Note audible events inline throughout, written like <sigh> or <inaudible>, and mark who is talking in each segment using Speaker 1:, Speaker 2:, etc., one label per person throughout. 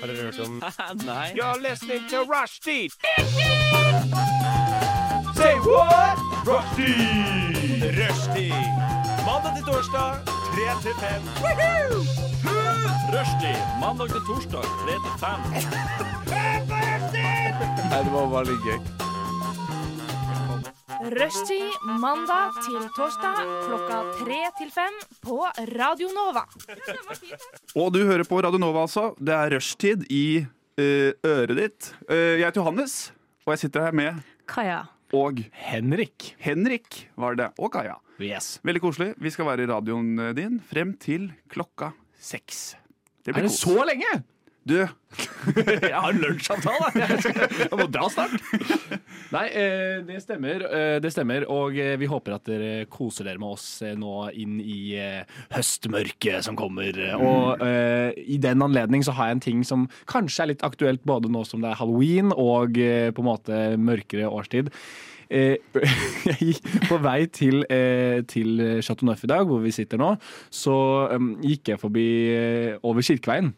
Speaker 1: Har dere hørt om
Speaker 2: Nei.
Speaker 3: You're listening to Rushdie. Say what? Rushdie. Rushdie. Mandag til torsdag, 3 til 5.
Speaker 2: Rushdie mandag til torsdag 3 til 5.
Speaker 4: Rushtid mandag til torsdag klokka tre til fem på Radio Nova.
Speaker 5: Og du hører på Radio Nova, altså. Det er rushtid i eh, øret ditt. Eh, jeg heter Johannes, og jeg sitter her med
Speaker 6: Kaja.
Speaker 5: og
Speaker 1: Henrik?
Speaker 5: Henrik, var det, og Kaja.
Speaker 1: Yes.
Speaker 5: Veldig koselig. Vi skal være i radioen eh, din frem til klokka seks. Det
Speaker 1: Er det
Speaker 5: kos.
Speaker 1: så lenge?
Speaker 5: Du,
Speaker 1: Jeg har lunsjavtale! Jeg skal- <laughs> jeg må dra snart. Nei, eh, det stemmer. eh, Det stemmer, Og eh, vi håper at dere koser dere med oss eh, nå inn i eh, høstmørket som kommer. Og eh, i den anledning så har jeg en ting som kanskje er litt aktuelt både nå som det er halloween og eh, på en måte mørkere årstid. Eh, <laughs> jeg gikk på vei til, eh, til Chateau Neuf i dag, hvor vi sitter nå, så um, gikk jeg forbi eh, over Kirkeveien.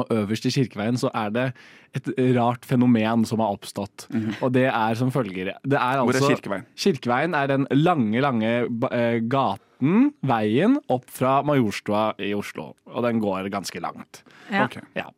Speaker 1: Og øverst i Kirkeveien så er det et rart fenomen som har oppstått. Og det er som følger. Det er
Speaker 5: Mhm. hvor er
Speaker 1: altså,
Speaker 5: Kirkeveien?
Speaker 1: Kirkeveien er den lange, lange ba- eh, gaten, veien, opp fra Majorstua i Oslo. Og den går ganske langt.
Speaker 6: Ja.
Speaker 5: Ok.
Speaker 1: Ja.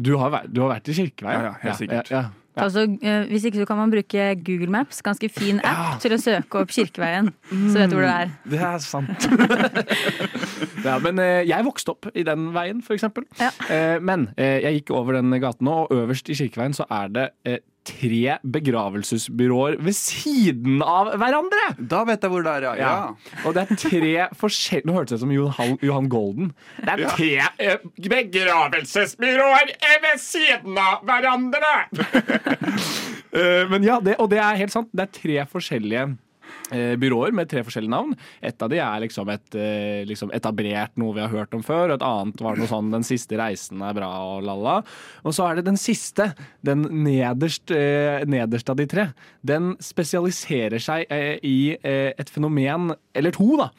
Speaker 1: Du har, vært- du har vært i Kirkeveien?
Speaker 5: Ja, ja, helt sikkert.
Speaker 1: Ja, ja.
Speaker 6: Altså, eh, hvis ikke så kan man bruke Google Maps, ganske fin app, til å søke opp Kirkeveien. Så vet du hvor det er.
Speaker 5: Mm.
Speaker 1: Det er sant. ja, men eh, jeg vokste opp i den veien, for eksempel.
Speaker 6: Ja.
Speaker 1: Eh, men eh, jeg gikk over den gaten nå, og øverst i Kirkeveien så er det eh, tre begravelsesbyråer ved siden av hverandre!
Speaker 5: da vet jeg hvor det er, ja. ja.
Speaker 1: Og det er tre forskjellige Nå hørtes det ut som Johan, Johan Golden. Det er tre eh, begravelsesbyråer eh, ved siden av hverandre! Eh, men ja, det, og det er helt sant. Det er tre forskjellige eh, byråer med tre forskjellige navn. Et av de er liksom et eh, liksom etablert noe vi har hørt om før, og et annet var noe sånn 'Den siste reisen er bra' og la-la. Og så er det den siste, den nederst, eh, nederst av de tre. Den spesialiserer seg eh, i eh, et fenomen, eller to, da,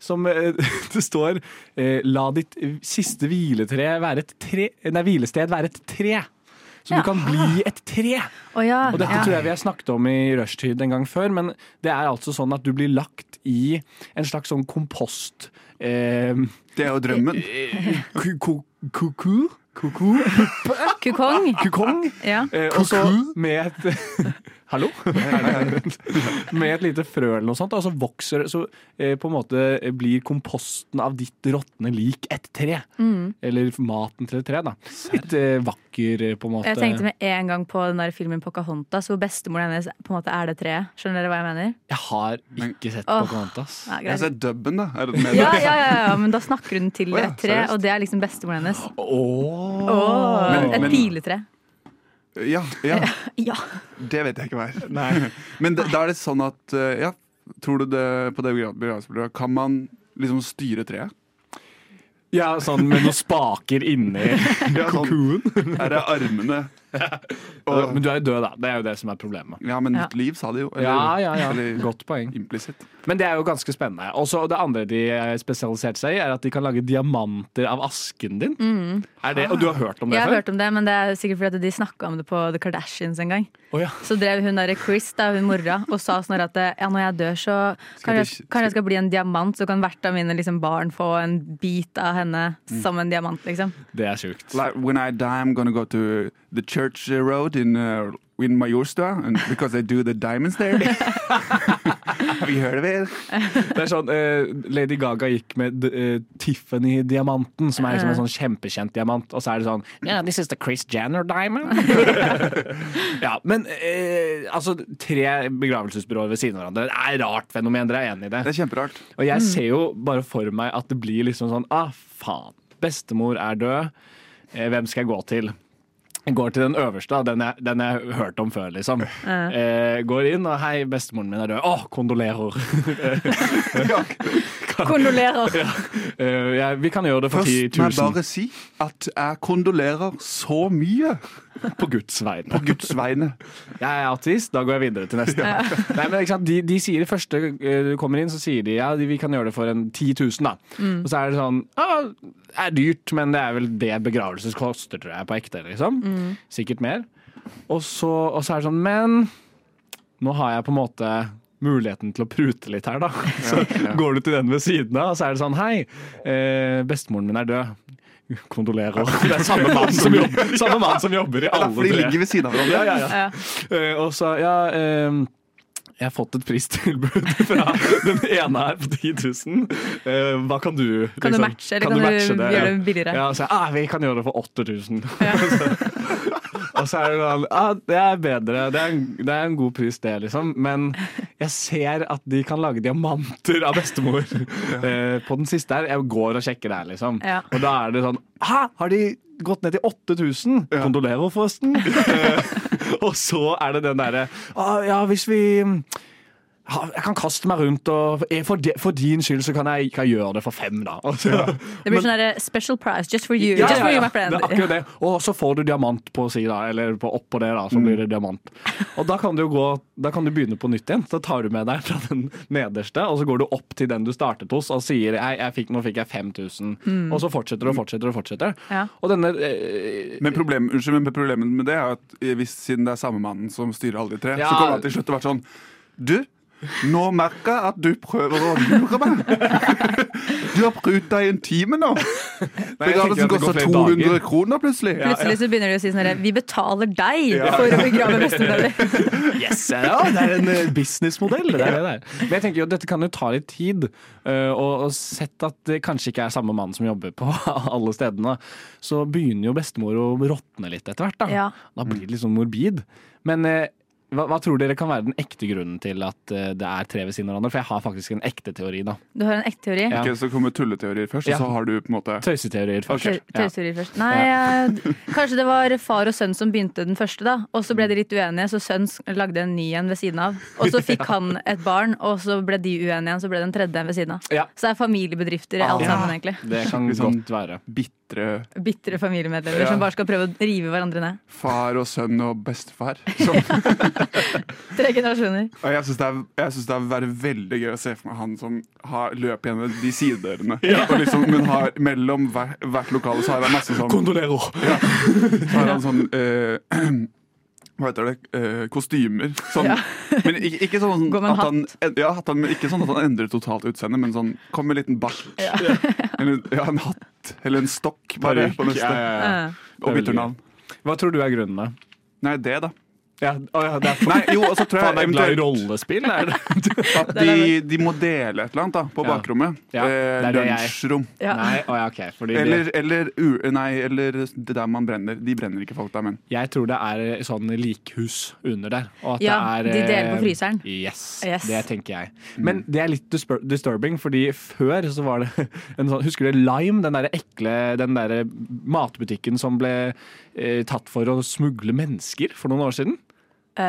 Speaker 1: som eh, <laughs> det står eh, 'La ditt siste hviletre være et tre', nei, hvilested være et tre. Så
Speaker 6: Ja.
Speaker 1: du kan bli et tre.
Speaker 6: Å ja.
Speaker 1: Og dette
Speaker 6: ja.
Speaker 1: tror jeg vi har snakket om i rushtid en gang før, men det er altså sånn at du blir lagt i en slags sånn kompost eh,
Speaker 5: Det er jo drømmen.
Speaker 1: ku- ku- Kuku? Kuku?
Speaker 6: Kukong.
Speaker 1: Kukong?
Speaker 6: Ja.
Speaker 1: Eh, og så med et <laughs>
Speaker 6: <laughs>
Speaker 1: Hallo? med et lite frø eller noe sånt, og så vokser Så eh, på en måte blir komposten av ditt råtne lik et tre.
Speaker 6: Mm.
Speaker 1: Eller maten til et tre, da. Litt eh, vakker, eh, på en måte.
Speaker 6: Jeg tenkte med en gang på den der filmen Pocahontas, hvor bestemoren hennes på en måte er det treet. Skjønner dere hva jeg mener?
Speaker 1: Jeg har ikke sett
Speaker 6: Åh.
Speaker 1: Pocahontas.
Speaker 6: Ja,
Speaker 5: Jeg
Speaker 6: greit.
Speaker 5: ser dubben, da. Er det med
Speaker 6: Ja,
Speaker 5: det?
Speaker 6: ja, ja, ja, men da snakker hun til
Speaker 5: Å ja,
Speaker 6: et tre,
Speaker 5: seriøst?
Speaker 6: og det er liksom bestemoren hennes.
Speaker 1: Åh.
Speaker 6: Åh,
Speaker 5: Men-
Speaker 6: et
Speaker 5: men-
Speaker 6: piletre.
Speaker 5: Ja, ja.
Speaker 6: Ja.
Speaker 5: Det vet jeg ikke hva er.
Speaker 1: Nei.
Speaker 5: Men da- da er det sånn at eh, ja, Tror du det på det begra- begravelsesbyrået Kan man liksom styre treet?
Speaker 1: Ja, sånn med noen spaker inni
Speaker 5: Ja, sånn,
Speaker 1: kokoen.
Speaker 5: her er armene og,
Speaker 1: Men du er jo død, da. Det er jo det som er problemet.
Speaker 5: Ja, men
Speaker 6: Ja.
Speaker 5: nytt liv, sa de jo.
Speaker 1: Ja, ja, ja.
Speaker 5: eller
Speaker 1: Godt poeng.
Speaker 5: implisitt.
Speaker 1: Men det er jo ganske spennende. Og så det andre de spesialiserte seg i, er at de kan lage diamanter av asken din. Er det, og du har hørt om det
Speaker 6: Mm. Jeg har
Speaker 1: før?
Speaker 6: hørt om det, men det er sikkert fordi at de snakka om det på The Kardashians en gang.
Speaker 1: Å, ja.
Speaker 6: Så drev hun der Chris, da, hun mora, og sa sånn her at ja, når jeg dør, så
Speaker 5: Skal
Speaker 6: kan
Speaker 5: de-
Speaker 6: jeg, kan jeg skal bli en diamant, så kan hvert av mine liksom, barn få en bit av henne
Speaker 1: Mm.
Speaker 6: som en diamant,
Speaker 1: <laughs>
Speaker 6: liksom.
Speaker 1: Det er sjukt.
Speaker 5: Like, when I die, I'm gonna go to the church uh, road in, uh, in Majorstua and, because they do the
Speaker 1: <laughs>
Speaker 5: diamonds there. Have you heard of it?
Speaker 1: Det er sånn, eh, Lady Gaga gikk med eh, Tiffany-diamanten, som er liksom en sånn kjempekjent diamant. Og så er det sånn yeah, This is the Chris Jenner
Speaker 5: <laughs>
Speaker 1: diamond. ja, Men eh, altså, tre begravelsesbyråer ved siden av hverandre. Det er rart fenomen, dere er enig i det?
Speaker 5: Det er Mm. kjemperart.
Speaker 1: Og jeg ser jo bare for meg at det blir liksom sånn Ah, faen. Bestemor er død. Eh, Hvem skal jeg gå til? Jeg går til den øverste, da, den jeg, den jeg hørte om før, liksom. Eh, går inn og 'Hei, bestemoren min er død'. Å, kondolerer!
Speaker 6: Kondolerer.
Speaker 1: Eh, ja, vi kan gjøre det for
Speaker 5: Først må jeg
Speaker 1: 10 000
Speaker 5: bare si at jeg kondolerer så mye
Speaker 1: på Guds vegne.
Speaker 5: på Guds vegne.
Speaker 1: Jeg er ateist, da går jeg videre til neste. Nei, men ikke sant? De, de sier det første eh, du kommer inn, så sier de ja, de- vi kan gjøre det for en 10 000, da. Og så er det sånn ja, det er dyrt, men det er vel det begravelse koster, tror jeg, på ekte, liksom. Sikkert mer. Og så, og så er det sånn, men nå har jeg på en måte muligheten til å prute litt her, da. <laughs> Så går du til den ved siden av, og så er det sånn hei, eh, bestemoren min er død. Kondolerer. Det er samme mann som jobber, samme mann som jobber i alle
Speaker 5: Derfor de ligger ved siden av hverandre.
Speaker 1: ja, ja, ja. Eh, og så, ja ehm, Jeg har fått et pristilbud <laughs> fra den ene her på 10 000. Eh, hva kan du
Speaker 6: Kan du
Speaker 1: liksom?
Speaker 6: matche, eller kan du gjøre det billigere?
Speaker 1: Ja, så, jeg, ah, vi kan gjøre det for 8000. Og så er det sånn ah, Det er bedre. Det er, en, det er en god pris, det, liksom. Men jeg ser at de kan lage diamanter av bestemor. Eh, på den siste her. Jeg går og sjekker der, liksom.
Speaker 6: Ja.
Speaker 1: Og da er det sånn Hæ, har de gått ned til 8000? Kondolerer, forresten. Eh, og så er det den derre ah, Ja, hvis vi ja, jeg kan kaste meg rundt, og for, de, for din skyld så kan jeg, kan jeg gjøre det for fem, da. Og så-
Speaker 6: Det blir sånn der, special prize just for you.
Speaker 1: ja,
Speaker 6: just
Speaker 1: ja,
Speaker 6: for
Speaker 1: ja.
Speaker 6: you, my friend.
Speaker 1: Det er akkurat det. Og så får du diamant på si, da, eller på oppå det, da, så blir det diamant. Og da kan, du gå, da kan du begynne på nytt igjen. Så tar du med deg fra den nederste, og så går du opp til den du startet hos og sier Hei, jeg fikk, nå fikk jeg 5000. Og så fortsetter og fortsetter og fortsetter.
Speaker 6: Ja.
Speaker 1: Og denne eh,
Speaker 5: Men problemet, unnskyld, men problemet med det er at eh, hvis, siden det er samme mannen som styrer alle de tre,
Speaker 1: Ja.
Speaker 5: så kommer han til slutt til å være sånn Du, nå merker jeg at du prøver å lure meg. <laughs> Du har pruta i en time nå.
Speaker 1: jeg tenker at det
Speaker 5: Begravelsen
Speaker 1: går
Speaker 5: koster
Speaker 1: flere
Speaker 5: 200
Speaker 1: dager.
Speaker 5: kroner plutselig.
Speaker 6: Plutselig så begynner de å si sånn der, Vi betaler deg for å
Speaker 1: <laughs>
Speaker 6: begrave bestemora di.
Speaker 1: Yes, ja, det er en eh, businessmodell. Det er det der. Men jeg tenker jo, dette kan jo ta litt tid. eh, Og, og sett at det kanskje ikke er samme mann som jobber på <laughs> alle stedene, så begynner jo bestemor å råtne litt etter hvert. Da.
Speaker 6: Ja.
Speaker 1: da blir det litt sånn morbid. Men eh, hva, hva tror dere kan være den ekte grunnen til at eh, det er tre ved siden av hverandre? For jeg har faktisk en ekte teori, da.
Speaker 6: Du har en ekte teori?
Speaker 1: Ja.
Speaker 5: Ok, så kommer tulleteorier først,
Speaker 1: Ja.
Speaker 5: og så har du på en måte
Speaker 1: Tøyseteorier først.
Speaker 6: Tau-
Speaker 1: Ja.
Speaker 6: Tausteori først. Nei, eh, kanskje det var far og sønn som begynte den første, da. Og så ble de litt uenige, så sønn s- lagde en ny en ved siden av. Og så
Speaker 1: <laughs>
Speaker 6: fikk han et barn, og så ble de uenige igjen, så ble det en tredje en ved siden av.
Speaker 1: Ja. Ah.
Speaker 6: Så det er familiebedrifter i alt
Speaker 1: Ja.
Speaker 6: sammen, egentlig.
Speaker 1: Det kan
Speaker 5: Skikkelig sånn-
Speaker 1: godt være.
Speaker 5: bitre
Speaker 6: Bitre familiemedlemmer som bare skal prøve å rive hverandre ned.
Speaker 5: far og sønn og
Speaker 1: <laughs>
Speaker 5: bestefar. Som,
Speaker 6: Tre generasjoner.
Speaker 5: og jeg syns det, er- jeg synes det er være veldig gøy å se for meg han som har løp gjennom
Speaker 1: <laughs>
Speaker 5: de sidedørene. Og liksom, men har, mellom hver, hvert lokale så har han masse sånn
Speaker 1: Kondolerer!
Speaker 5: Så har han sånn eh, <clears throat> Hva heter det? Eh, kostymer. Sånn, Men ikke, ikke sånn
Speaker 6: Går med en
Speaker 5: at han, ja, at han, ikke sånn at han endrer totalt utseende, men sånn kom med en liten bart. Eller <laughs> ja, en hatt. Eller en stokk, bare. På neste.
Speaker 6: Eh,
Speaker 5: Og bytter navn.
Speaker 1: Hva tror du er grunnen, da?
Speaker 5: Nei, det, da.
Speaker 1: Ja, å ja, det er
Speaker 5: Nei, jo, og så tror
Speaker 1: <laughs> Faen, jeg
Speaker 5: jeg
Speaker 1: er glad i
Speaker 5: eventuelt
Speaker 1: rollespill, er det?
Speaker 5: at de, de må dele et eller annet da, på
Speaker 1: Ja.
Speaker 5: bakrommet.
Speaker 1: Ja,
Speaker 5: Eh,
Speaker 1: det er det jeg-
Speaker 5: lunsjrom.
Speaker 6: ja.
Speaker 1: Nei, å ja, ok. Fordi det-
Speaker 5: Eller, eller, u- nei, eller det der man brenner. De brenner ikke folk der, men
Speaker 1: jeg tror det er sånn likhus under der. Og at
Speaker 6: Ja,
Speaker 1: det er,
Speaker 6: de
Speaker 1: eh,
Speaker 6: deler på fryseren.
Speaker 1: Yes,
Speaker 6: Yes.
Speaker 1: Det tenker jeg. Men det er litt dispur- disturbing, fordi før så var det <laughs> en sånn Husker du Lime? Den derre ekle Den derre matbutikken som ble eh, tatt for å smugle mennesker for noen år siden?
Speaker 6: Eh,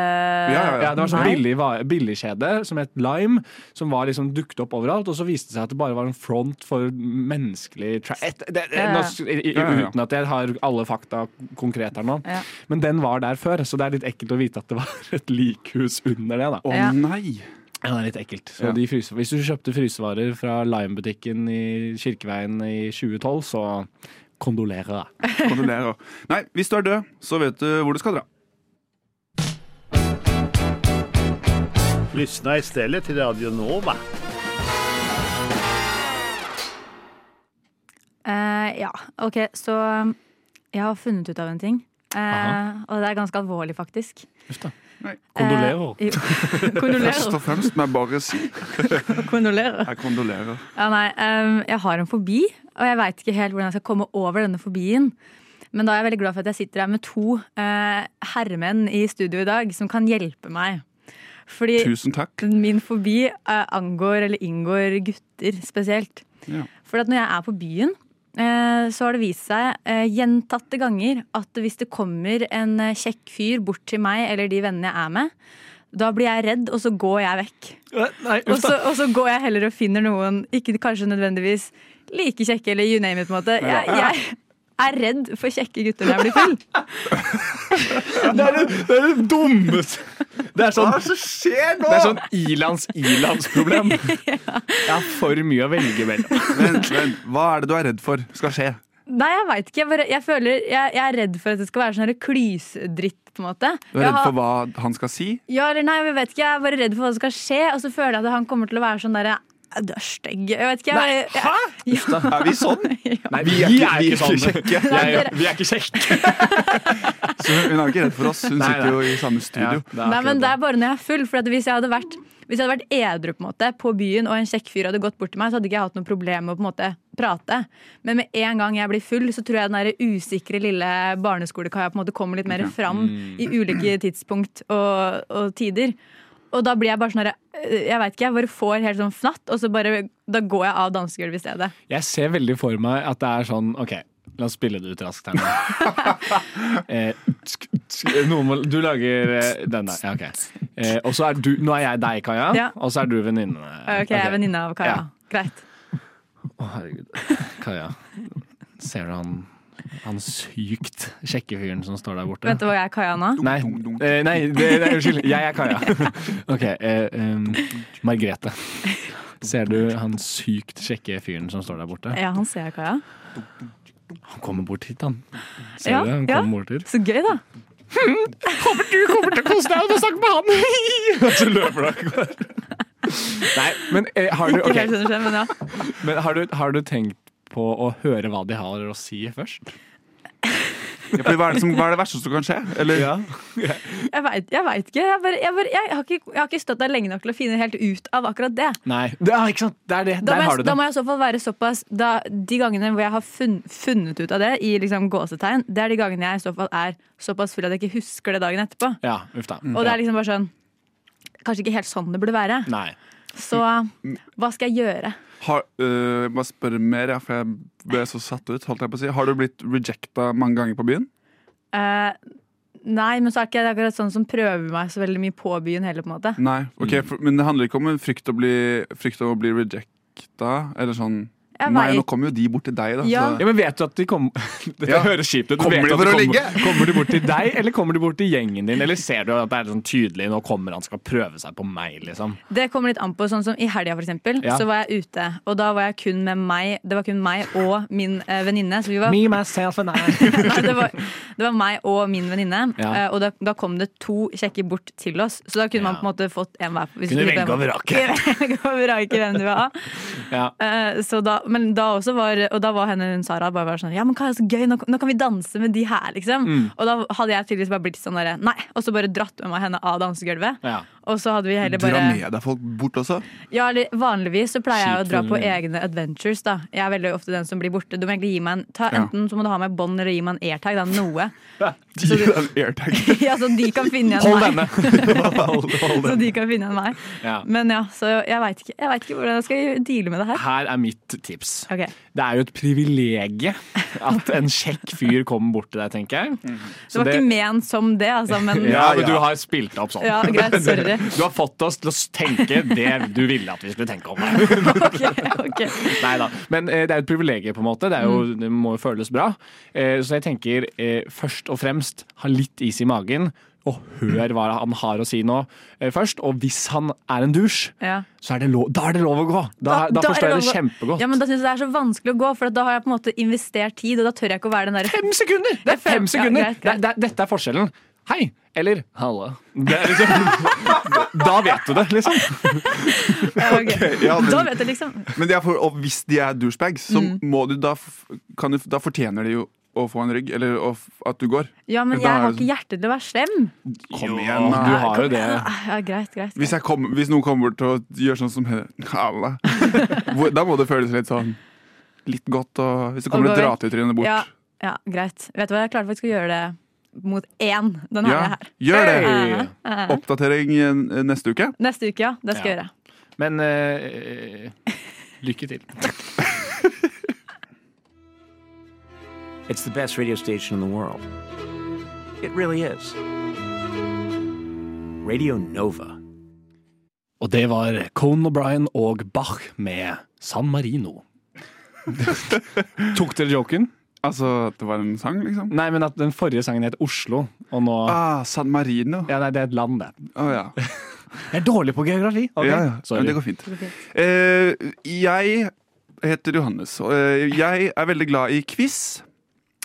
Speaker 5: Ja, ja,
Speaker 1: Ja, det var sånn
Speaker 6: Nei.
Speaker 1: billig, va- billigkjede som het Lime, som var liksom dukt opp overalt. Og så viste det seg at det bare var en front for menneskelig tra et, det, det,
Speaker 6: Ja, ja.
Speaker 1: nå s- i- i-
Speaker 5: Ja, ja, ja.
Speaker 1: Uten at jeg har alle fakta konkret her nå.
Speaker 6: Ja.
Speaker 1: Men den var der før, så det er litt ekkelt å vite at det var <laughs> et likhus under det. da
Speaker 5: Å
Speaker 6: Ja.
Speaker 5: nei!
Speaker 1: Ja, det er litt ekkelt. Så
Speaker 5: Ja.
Speaker 1: de fryser, hvis du kjøpte frysevarer fra Lime-butikken i Kirkeveien i 2012, så kondolerer
Speaker 5: Eh,
Speaker 1: jeg.
Speaker 5: Kondolerer. Nei, hvis du er død, så vet du hvor du skal dra.
Speaker 7: Lyssna istället till Radio Nova.
Speaker 6: Eh, ja, ok, så um, jeg har funnet ut av en ting. Eh,
Speaker 1: Aha.
Speaker 6: og det er ganske alvorlig, faktisk.
Speaker 1: Uff da.
Speaker 5: Nei.
Speaker 1: Kondolerer.
Speaker 6: Eh, jo.
Speaker 5: Først
Speaker 6: <laughs> kondolerer.
Speaker 5: og fremst må jeg bare si
Speaker 6: kondolerer.
Speaker 5: jeg kondolerer.
Speaker 6: Ja, nei, um, jeg har en fobi, og jeg veit ikke helt hvordan jeg skal komme over denne fobien. Men da er jeg veldig glad for at jeg sitter her med to eh, herremenn i studio i dag som kan hjelpe meg. Fordi
Speaker 5: Tusen takk.
Speaker 6: min fobi eh, angår eller inngår gutter spesielt.
Speaker 5: Ja.
Speaker 6: For at når jeg er på byen, eh, så har det vist seg eh, gjentatte ganger at hvis det kommer en eh, kjekk fyr bort til meg eller de vennene jeg er med, Da blir jeg redd, og så går jeg vekk.
Speaker 1: Nei,
Speaker 6: Og
Speaker 1: uff
Speaker 6: så,
Speaker 1: da.
Speaker 6: og så går jeg heller og finner noen, ikke kanskje nødvendigvis like kjekke eller you name it, på en måte. Jeg, jeg er redd for kjekke gutter når jeg blir
Speaker 5: <laughs>
Speaker 6: full.
Speaker 1: Det er det, det er det dummeste Det er sånn,
Speaker 5: Hva er det som skjer nå?!
Speaker 1: det er sånn
Speaker 6: <laughs>
Speaker 1: ilands-ilandsproblem. Jeg har for mye å velge mellom.
Speaker 5: Vent, vent, hva er det du er redd for skal skje?
Speaker 6: Nei, jeg veit ikke. Jeg, bare, jeg, føler, jeg, jeg er redd for at det skal være sånn her klysedritt, på en måte.
Speaker 5: Du er
Speaker 6: Jeg
Speaker 5: redd
Speaker 6: har-
Speaker 5: for hva han skal si?
Speaker 6: Ja eller nei, jeg vet ikke. Jeg er bare redd for hva som skal skje, og så føler jeg at han kommer til å være sånn derre Du er stygg. Jeg vet ikke. Jeg, jeg,
Speaker 5: Er vi
Speaker 6: <laughs>
Speaker 5: sånn?
Speaker 1: Nei,
Speaker 5: Vi er ikke- vi er ikke kjekke.
Speaker 1: Nei, sånn. ja, vi er ikke kjekke.
Speaker 5: Så hun hun er jo ikke redd for oss, hun
Speaker 1: Nei,
Speaker 5: sitter
Speaker 1: nei.
Speaker 5: jo i samme studio.
Speaker 6: Nei, men det er bare når jeg er full. For at hvis jeg hadde vært hvis jeg hadde vært edru på en måte, på byen, og en kjekk fyr hadde gått bort til meg, så hadde ikke jeg hatt noe problem med å på en måte prate. Men med en gang jeg blir full, så tror jeg den der usikre lille barneskolekaia på en måte kommer litt mer fram i ulike <clears throat> tidspunkt og, og tider. Og da blir jeg bare sånn her, øh, Jeg vet ikke, jeg bare får helt sånn fnatt, og så bare, da går jeg av dansegulvet i stedet.
Speaker 1: Jeg ser veldig for meg at det er sånn OK, la oss spille det ut raskt her nå.
Speaker 6: <laughs>
Speaker 1: Eh, tsk, tsk, Noen må Du lager eh, den der. Ja, OK. Eh, og så er du Nå er jeg deg, Kaja,
Speaker 6: Ja.
Speaker 1: og så er du venninne.
Speaker 6: Ok, jeg er venninne av Kaja.
Speaker 1: Ja.
Speaker 6: Greit.
Speaker 1: Å, herregud. Kaja. Ser du han han sykt kjekke fyren som står der borte?
Speaker 6: Vet du hva jeg er Kaja nå?
Speaker 1: Nei,
Speaker 5: Dunk, dunk, dunk.
Speaker 1: eh, nei, det, nei, unnskyld. Jeg er <laughs> Kaja. Ok, eh, em, <laughs> Margrethe. Ser du han sykt kjekke fyren som står der borte?
Speaker 6: Ja, han ser jeg Kaja.
Speaker 1: Han kommer bort hit, han. Ser
Speaker 6: Ja,
Speaker 1: du det? Han
Speaker 6: ja.
Speaker 1: kommer bort hit.
Speaker 6: Så gøy, da.
Speaker 1: Du kommer til å kose deg med å snakke med han! <laughs> Og så løper du av gårde. Nei, men, eh, har, du,
Speaker 6: Ikke
Speaker 1: ok,
Speaker 6: helt skjønner selv, men ja.
Speaker 1: men har, du, har du tenkt på å høre hva de har å si først?
Speaker 5: Ja, fordi hva, er det som, hva er det verste som kan skje? Eller,
Speaker 6: Jeg veit jeg vet ikke. Jeg, bare, jeg, bare, jeg, har ikke. jeg har ikke stått der lenge nok til å finne helt ut av akkurat det.
Speaker 1: Nei. Det, ja, ikke sant? Det er det. Der
Speaker 6: Da må,
Speaker 1: har
Speaker 6: jeg,
Speaker 1: du
Speaker 6: da
Speaker 1: det.
Speaker 6: må jeg i så fall være såpass da, De gangene hvor jeg har funn, funnet ut av det, i liksom gåsetegn, det er de gangene jeg i så fall er såpass full at jeg ikke husker det dagen etterpå.
Speaker 1: Ja, uff da.
Speaker 6: Og det
Speaker 1: Ja.
Speaker 6: er liksom bare sånn Kanskje ikke helt sånn det burde være.
Speaker 1: Nei.
Speaker 6: Så
Speaker 1: Mm.
Speaker 6: hva skal jeg gjøre?
Speaker 5: har, øh, jeg må spørre mer, ja, for jeg ble så satt ut. Holdt jeg på å si. Har du blitt rejecta mange ganger på byen?
Speaker 6: Eh, nei, men så er ikke jeg akkurat sånn som prøver meg så veldig mye på byen heller, på en måte.
Speaker 5: Nei. ok,
Speaker 1: Mm.
Speaker 5: for, Men det handler ikke om en frykt, å bli, frykt av å bli rejecta, eller sånn
Speaker 6: Jeg
Speaker 5: Nei, nå
Speaker 6: vet,
Speaker 5: kommer jo de bort til deg, da.
Speaker 6: Ja.
Speaker 1: Ja, men vet du at de kom... <laughs> Dette
Speaker 5: Ja.
Speaker 1: høres kjipt ut. Du
Speaker 5: Kommer
Speaker 1: vet
Speaker 5: de
Speaker 1: at
Speaker 5: for å
Speaker 1: kommer,
Speaker 5: ligge?
Speaker 1: kommer de bort til deg, eller kommer de bort til gjengen din? Eller ser du at det er sånn tydelig nå kommer han skal prøve seg på meg, liksom?
Speaker 6: det kommer litt an på. Sånn som I helga for eksempel,
Speaker 1: Ja.
Speaker 6: så var jeg ute, og da var jeg kun med meg Det var kun meg og min eh, venninne. Så vi var
Speaker 1: Me, myself and I.
Speaker 6: <laughs> Nei, det, var, det var meg og min venninne,
Speaker 1: Ja.
Speaker 6: eh, og da, da kom det to kjekke bort til oss. Så da kunne man
Speaker 1: Ja.
Speaker 6: på en måte fått en hver. hvis
Speaker 1: Kunne
Speaker 6: du
Speaker 1: velge over raket.
Speaker 6: <laughs> Velge over raket hvem du vil ha.
Speaker 1: Ja.
Speaker 6: Eh, så da, men da også var, og da var henne hun Sara bare, bare sånn Ja, men hva er så gøy, nå, nå kan vi danse med de her, liksom.
Speaker 1: Mm.
Speaker 6: Og da hadde jeg tydeligvis bare blitt sånn derre nei, og så bare dratt med meg henne av dansegulvet.
Speaker 1: Ja.
Speaker 6: Og så hadde vi heller
Speaker 5: Dra
Speaker 6: bare
Speaker 5: med deg folk bort også?
Speaker 6: ja, eller Vanligvis så pleier jeg å
Speaker 1: Kjipt
Speaker 6: dra
Speaker 1: for
Speaker 6: på
Speaker 1: den.
Speaker 6: egne adventures. da Jeg er veldig ofte den som blir borte. Du må egentlig gi meg en, ta,
Speaker 5: Ja.
Speaker 6: Enten så må du ha meg bånd eller gi meg en airtag. Da, noe. <laughs>
Speaker 5: Gi deg en airtag.
Speaker 6: ja, så de kan finne igjen
Speaker 1: Hold
Speaker 6: meg.
Speaker 1: denne!
Speaker 5: Hold- hold
Speaker 6: <laughs> Så
Speaker 5: den.
Speaker 6: de kan finne igjen meg.
Speaker 1: Ja.
Speaker 6: Men ja, så jeg veit ikke, jeg vet ikke hvordan jeg skal deale med det her.
Speaker 1: Her er mitt tips.
Speaker 6: Ok,
Speaker 1: Det er jo et privilegium at en kjekk fyr kommer bort til deg, tenker jeg.
Speaker 6: Det var
Speaker 1: det-
Speaker 6: ikke ment som det, altså, men ja,
Speaker 1: <laughs> Ja, men
Speaker 5: ja.
Speaker 1: du har spilt deg opp sånn.
Speaker 6: greit. Sorry.
Speaker 1: <laughs> Du har fått oss til å tenke det du ville at vi skulle tenke om deg.
Speaker 6: Ok, ok.
Speaker 1: Nei da. Men eh, det er jo et privilegium, på en måte. Det, er jo,
Speaker 6: Mm.
Speaker 1: det må jo føles bra. Eh, så jeg tenker eh, først og fremst ha litt is i magen, og hør hva han har å si nå eh, først. Og hvis han er en dusj,
Speaker 6: Ja.
Speaker 1: så er det lov, da er det lov å gå! Da, da,
Speaker 6: er
Speaker 1: forstår jeg
Speaker 6: lov
Speaker 1: det
Speaker 6: å-
Speaker 1: kjempegodt.
Speaker 6: Ja, men Da syns jeg det er så vanskelig å gå, for at da har jeg på en måte investert tid, og da tør jeg ikke å være
Speaker 1: <laughs>
Speaker 6: den derre
Speaker 1: Fem sekunder! Det er
Speaker 6: Ja,
Speaker 1: fem sekunder!
Speaker 6: greit, greit.
Speaker 1: Det, er- det, dette er forskjellen. Hei! Eller halla. Det er liksom,
Speaker 6: <laughs>
Speaker 1: da vet du det, liksom.
Speaker 6: Ok.
Speaker 5: Ja, men-
Speaker 6: Da vet Mm. jeg liksom
Speaker 5: Men det er for, og hvis de er douchebags, så må du da, f- kan du, da fortjener de jo å få en rygg, eller å f- at du går.
Speaker 6: Ja, men
Speaker 5: Da
Speaker 6: jeg
Speaker 5: er
Speaker 6: har
Speaker 5: det
Speaker 6: ikke
Speaker 1: sånn.
Speaker 6: hjerte til å være slem. Ah,
Speaker 5: Kom
Speaker 1: Ja,
Speaker 5: igjen,
Speaker 1: du
Speaker 5: da.
Speaker 1: har jo det.
Speaker 6: Ja, greit, greit.
Speaker 5: Hvis, jeg kom, hvis noen kommer bort og gjør sånn som henne,
Speaker 6: <laughs>
Speaker 5: Halla. Hvor- da må det føles litt sånn Litt godt og Hvis det kommer et
Speaker 6: Og gå vekk.
Speaker 5: dratetryne bort.
Speaker 6: Ja, ja, greit. Vet du hva, jeg klarte faktisk å gjøre det mot én, den her.
Speaker 5: Ja,
Speaker 6: her.
Speaker 5: gjør det!
Speaker 1: Hey!
Speaker 5: Oppdatering eh, neste uke.
Speaker 6: Neste uke, ja. Det skal jeg
Speaker 1: Ja.
Speaker 6: gjøre.
Speaker 1: Men eh, lykke til.
Speaker 8: It's the best radio station in the world. It really is. Radio Nova.
Speaker 1: Og det var Conan O'Brien og Bach med San Marino. Tok dere joken?
Speaker 5: Altså, det var en sang, liksom?
Speaker 1: Nei, men at den forrige sangen het Oslo, og nå
Speaker 5: Ah, San Marino. Å
Speaker 1: Ja, nei, det er et land, det.
Speaker 5: ja.
Speaker 1: Jeg er dårlig på geografi. Ok,
Speaker 5: ja, ja.
Speaker 1: Sorry.
Speaker 5: Men det går fint. Eh, jeg heter Johannes, og eh, jeg er veldig glad i quiz.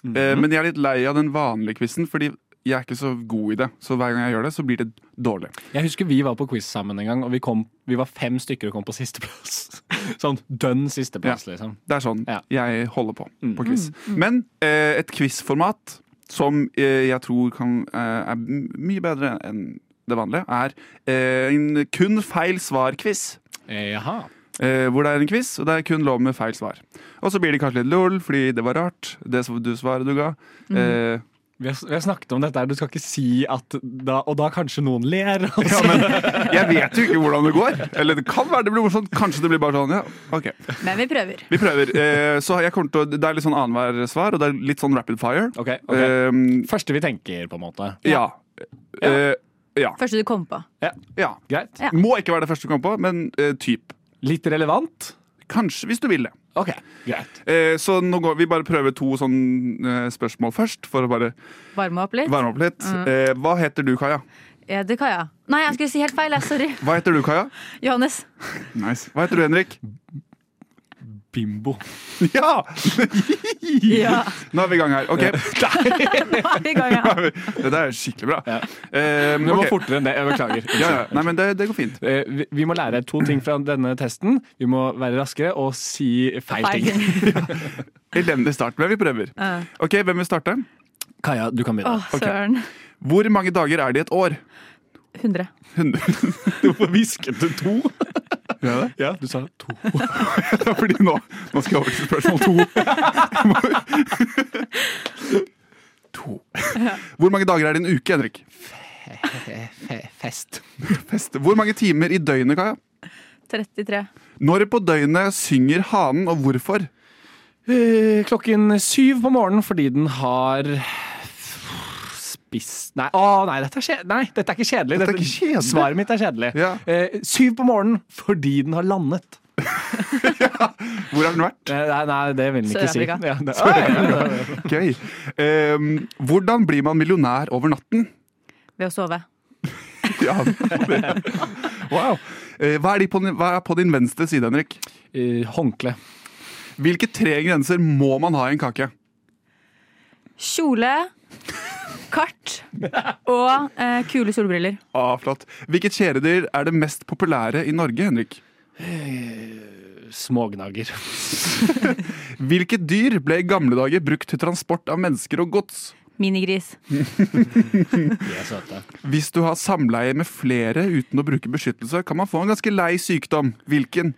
Speaker 5: Eh, Men jeg er litt lei av den vanlige quizen, fordi jeg er ikke så god i det. Så hver gang jeg gjør det, så blir det dårlig.
Speaker 1: Jeg husker vi var på quiz sammen en gang, og vi, kom, vi var fem stykker og kom på sisteplass. <laughs> Sånn dønn sisteplass, liksom.
Speaker 5: Det er sånn
Speaker 1: Ja. Mm.
Speaker 5: jeg holder på på quiz. Men eh, et quizformat som eh, jeg tror kan, eh, er m- mye bedre enn det vanlige, er eh, en kun feil svar-quiz.
Speaker 1: Eh, Jaha.
Speaker 5: Eh, hvor det er en quiz, og det er kun lov med feil svar. Og så blir det kanskje litt lol, fordi det var rart, det som du svaret du ga. Eh,
Speaker 1: Vi har, vi har snakket om dette her, du skal ikke si at da, Og da kanskje noen ler. <laughs> og så-
Speaker 5: jeg vet jo ikke hvordan det går. Eller det kan være det blir morsomt. Kanskje det blir bare sånn. Ja, ok.
Speaker 6: Men vi prøver.
Speaker 5: Vi prøver. Eh, så jeg kommer til å, Det er litt sånn annenhver svar, og det er litt sånn rapid fire.
Speaker 1: Ok, ok.
Speaker 5: Eh,
Speaker 1: Første vi tenker, på en måte.
Speaker 5: ja. Eh, ja.
Speaker 6: Første du kom på.
Speaker 1: Ja,
Speaker 5: ja.
Speaker 1: Greit.
Speaker 6: Ja.
Speaker 5: Må ikke være det første du kommer på, men eh, typ.
Speaker 1: Litt relevant?
Speaker 5: Kanskje, hvis du vil det.
Speaker 1: OK, greit.
Speaker 5: Eh, så nå går vi bare prøver to sånn eh, spørsmål først, for å bare
Speaker 6: Varme opp litt.
Speaker 5: varme opp litt. Eh, hva heter du, Kaja?
Speaker 6: Jeg heter Kaja. Nei, jeg skulle si helt feil. jeg. Sorry.
Speaker 5: Hva heter du, Kaja?
Speaker 6: Johannes.
Speaker 5: Nice. Hva heter du, <laughs> Henrik?
Speaker 1: Bimbo.
Speaker 5: Ja!
Speaker 6: Ja,
Speaker 5: <laughs> Nå er vi i gang her. <laughs> Ok,
Speaker 6: nå er vi i gang, ja.
Speaker 5: Dette er skikkelig bra.
Speaker 1: Ja.
Speaker 5: Eh,
Speaker 1: Det var
Speaker 5: ok.
Speaker 1: fortere enn det. Jeg
Speaker 5: <laughs>
Speaker 1: beklager.
Speaker 5: Ja, ja. Nei, men det, det går fint.
Speaker 1: Eh, vi- Vi må lære to ting fra denne testen. Vi må være raskere og si feil
Speaker 6: Feil.
Speaker 1: ting.
Speaker 5: Elendig start, men vi prøver.
Speaker 6: Ja.
Speaker 5: Ok, Hvem vil starte?
Speaker 1: Kaja, du kan
Speaker 6: Å,
Speaker 1: begynne.
Speaker 6: søren.
Speaker 5: Hvor mange dager er det i et år?
Speaker 6: 100.
Speaker 5: 100. Hvorfor hvisket du to? Ja, det?
Speaker 1: Ja, du sa to.
Speaker 5: er fordi nå, nå skal jeg over til spørsmål to. to. Hvor mange dager er det i en uke, Henrik?
Speaker 1: Fest.
Speaker 5: Fest. Hvor mange timer i døgnet, Kaja?
Speaker 6: 33.
Speaker 5: Når på døgnet synger hanen, og hvorfor?
Speaker 1: Eh, Klokken syv på morgenen fordi den har spist Nei, å, nei, dette er kje- nei, dette er ikke kjedelig.
Speaker 5: Dette er ikke kjedelig.
Speaker 1: Svaret mitt er kjedelig.
Speaker 5: Ja.
Speaker 1: Eh, syv på morgenen fordi den har landet.
Speaker 5: Hvor har den vært?
Speaker 1: Eh, Nei, nei det vil den ikke si.
Speaker 6: Sør-Afrika.
Speaker 1: Ja, det- <laughs> Oi!
Speaker 5: Gøy. Ehm, hvordan blir man millionær over natten?
Speaker 6: Ved å sove.
Speaker 5: Ja, det- wow. Eh, Hva er, de på, din- hva er på din venstre side, Henrik?
Speaker 1: Eh, Håndkle.
Speaker 5: Hvilke tre grenser må man ha i en kake?
Speaker 6: Kjole, kart og eh, kule solbriller.
Speaker 5: Ah, flott. Hvilket kjæledyr er det mest populære i Norge, Henrik?
Speaker 1: Smågnager.
Speaker 5: Hvilket dyr ble i gamle dager brukt til transport av mennesker og gods?
Speaker 6: Minigris.
Speaker 1: De er søte.
Speaker 5: Hvis du har samleie med flere uten å bruke beskyttelse, kan man få en ganske lei sykdom. Hvilken?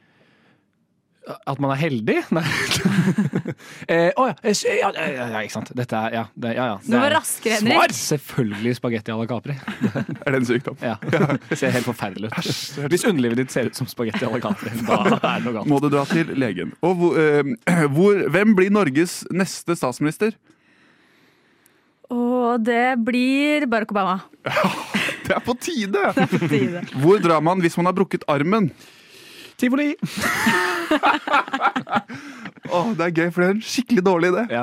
Speaker 1: At man er heldig? <laughs> Nei. eh, å ja. eh, s- ja, ja, ja, ja, ikke sant. Dette er Ja, det, ja. ja. Det
Speaker 6: Du var
Speaker 1: er-
Speaker 6: raskere, Henrik.
Speaker 1: Svar! Selvfølgelig spagetti à la Capri.
Speaker 5: Er det en sykdom?
Speaker 1: <laughs> Ja. Ser helt forferdelig ut. Hvis underlivet ditt ser ut som spagetti à la Capri, da er det noe galt.
Speaker 5: Må du dra til legen. Og hvor, eh, <clears throat> hvor, hvem blir Norges neste statsminister?
Speaker 6: Og det blir Barack Obama.
Speaker 5: Det er på tide!
Speaker 6: Tide.
Speaker 5: Hvor drar man hvis man har brukket armen?
Speaker 1: Tivoli!
Speaker 5: Åh, det er gøy, for det er en skikkelig dårlig idé.
Speaker 1: Ja.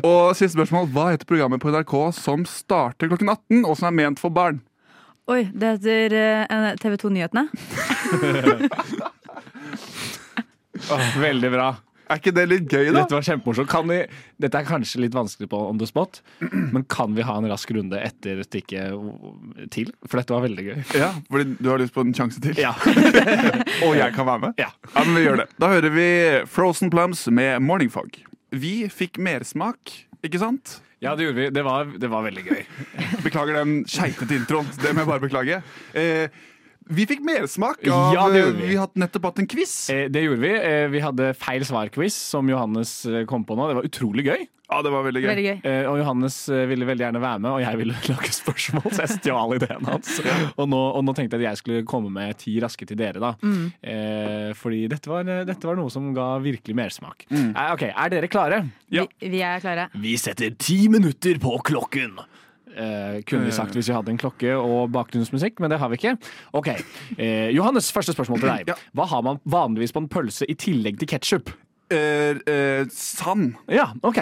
Speaker 5: Og siste spørsmål. Hva heter programmet på NRK som starter klokken 18, og som er ment for barn?
Speaker 6: Oi, det heter eh, TV 2 Nyhetene.
Speaker 1: Veldig bra.
Speaker 5: Er ikke det litt gøy, da?
Speaker 1: Dette var kjempemorsomt. Kan vi, dette er kanskje litt vanskelig på on the spot, men kan vi ha en rask runde etter stikket til? For dette var veldig gøy.
Speaker 5: Ja, fordi du har lyst på en sjanse til?
Speaker 1: Ja.
Speaker 5: Og jeg kan være med?
Speaker 1: Ja.
Speaker 5: men vi gjør det. Da hører vi Frozen Plums med Morning Fog. Vi fikk mersmak, ikke sant?
Speaker 1: <laughs> ja, det gjorde vi. Det var, det var veldig gøy.
Speaker 5: Beklager den skeitete introen. Det må jeg bare beklage. Eh, vi fikk mersmak av eh,
Speaker 1: Ja, det gjorde vi.
Speaker 5: Vi har nettopp hatt en quiz.
Speaker 1: Eh, Det gjorde vi. Eh, Vi hadde feil svar-quiz, som Johannes eh, kom på nå. Det var utrolig gøy.
Speaker 5: Ja, det var veldig gøy.
Speaker 6: Veldig gøy.
Speaker 1: Eh, Og Johannes eh, ville veldig gjerne være med, og jeg ville <laughs> lage spørsmål, så jeg stjal ideen hans. Og nå, og nå tenkte jeg at jeg skulle komme med ti raske til dere, da. Eh, Fordi dette var, eh, dette var noe som ga virkelig mersmak. Eh, Ok, er dere klare?
Speaker 5: Ja.
Speaker 6: Vi, vi er klare.
Speaker 1: Vi setter ti minutter på klokken. Eh, kunne vi sagt hvis vi hadde en klokke og bakgrunnsmusikk, men det har vi ikke. Ok, eh, Johannes, første spørsmål til
Speaker 5: Ja.
Speaker 1: deg. Hva har man vanligvis på en pølse i tillegg til ketsjup?
Speaker 5: Eh, eh, sand.
Speaker 1: Ja, ok.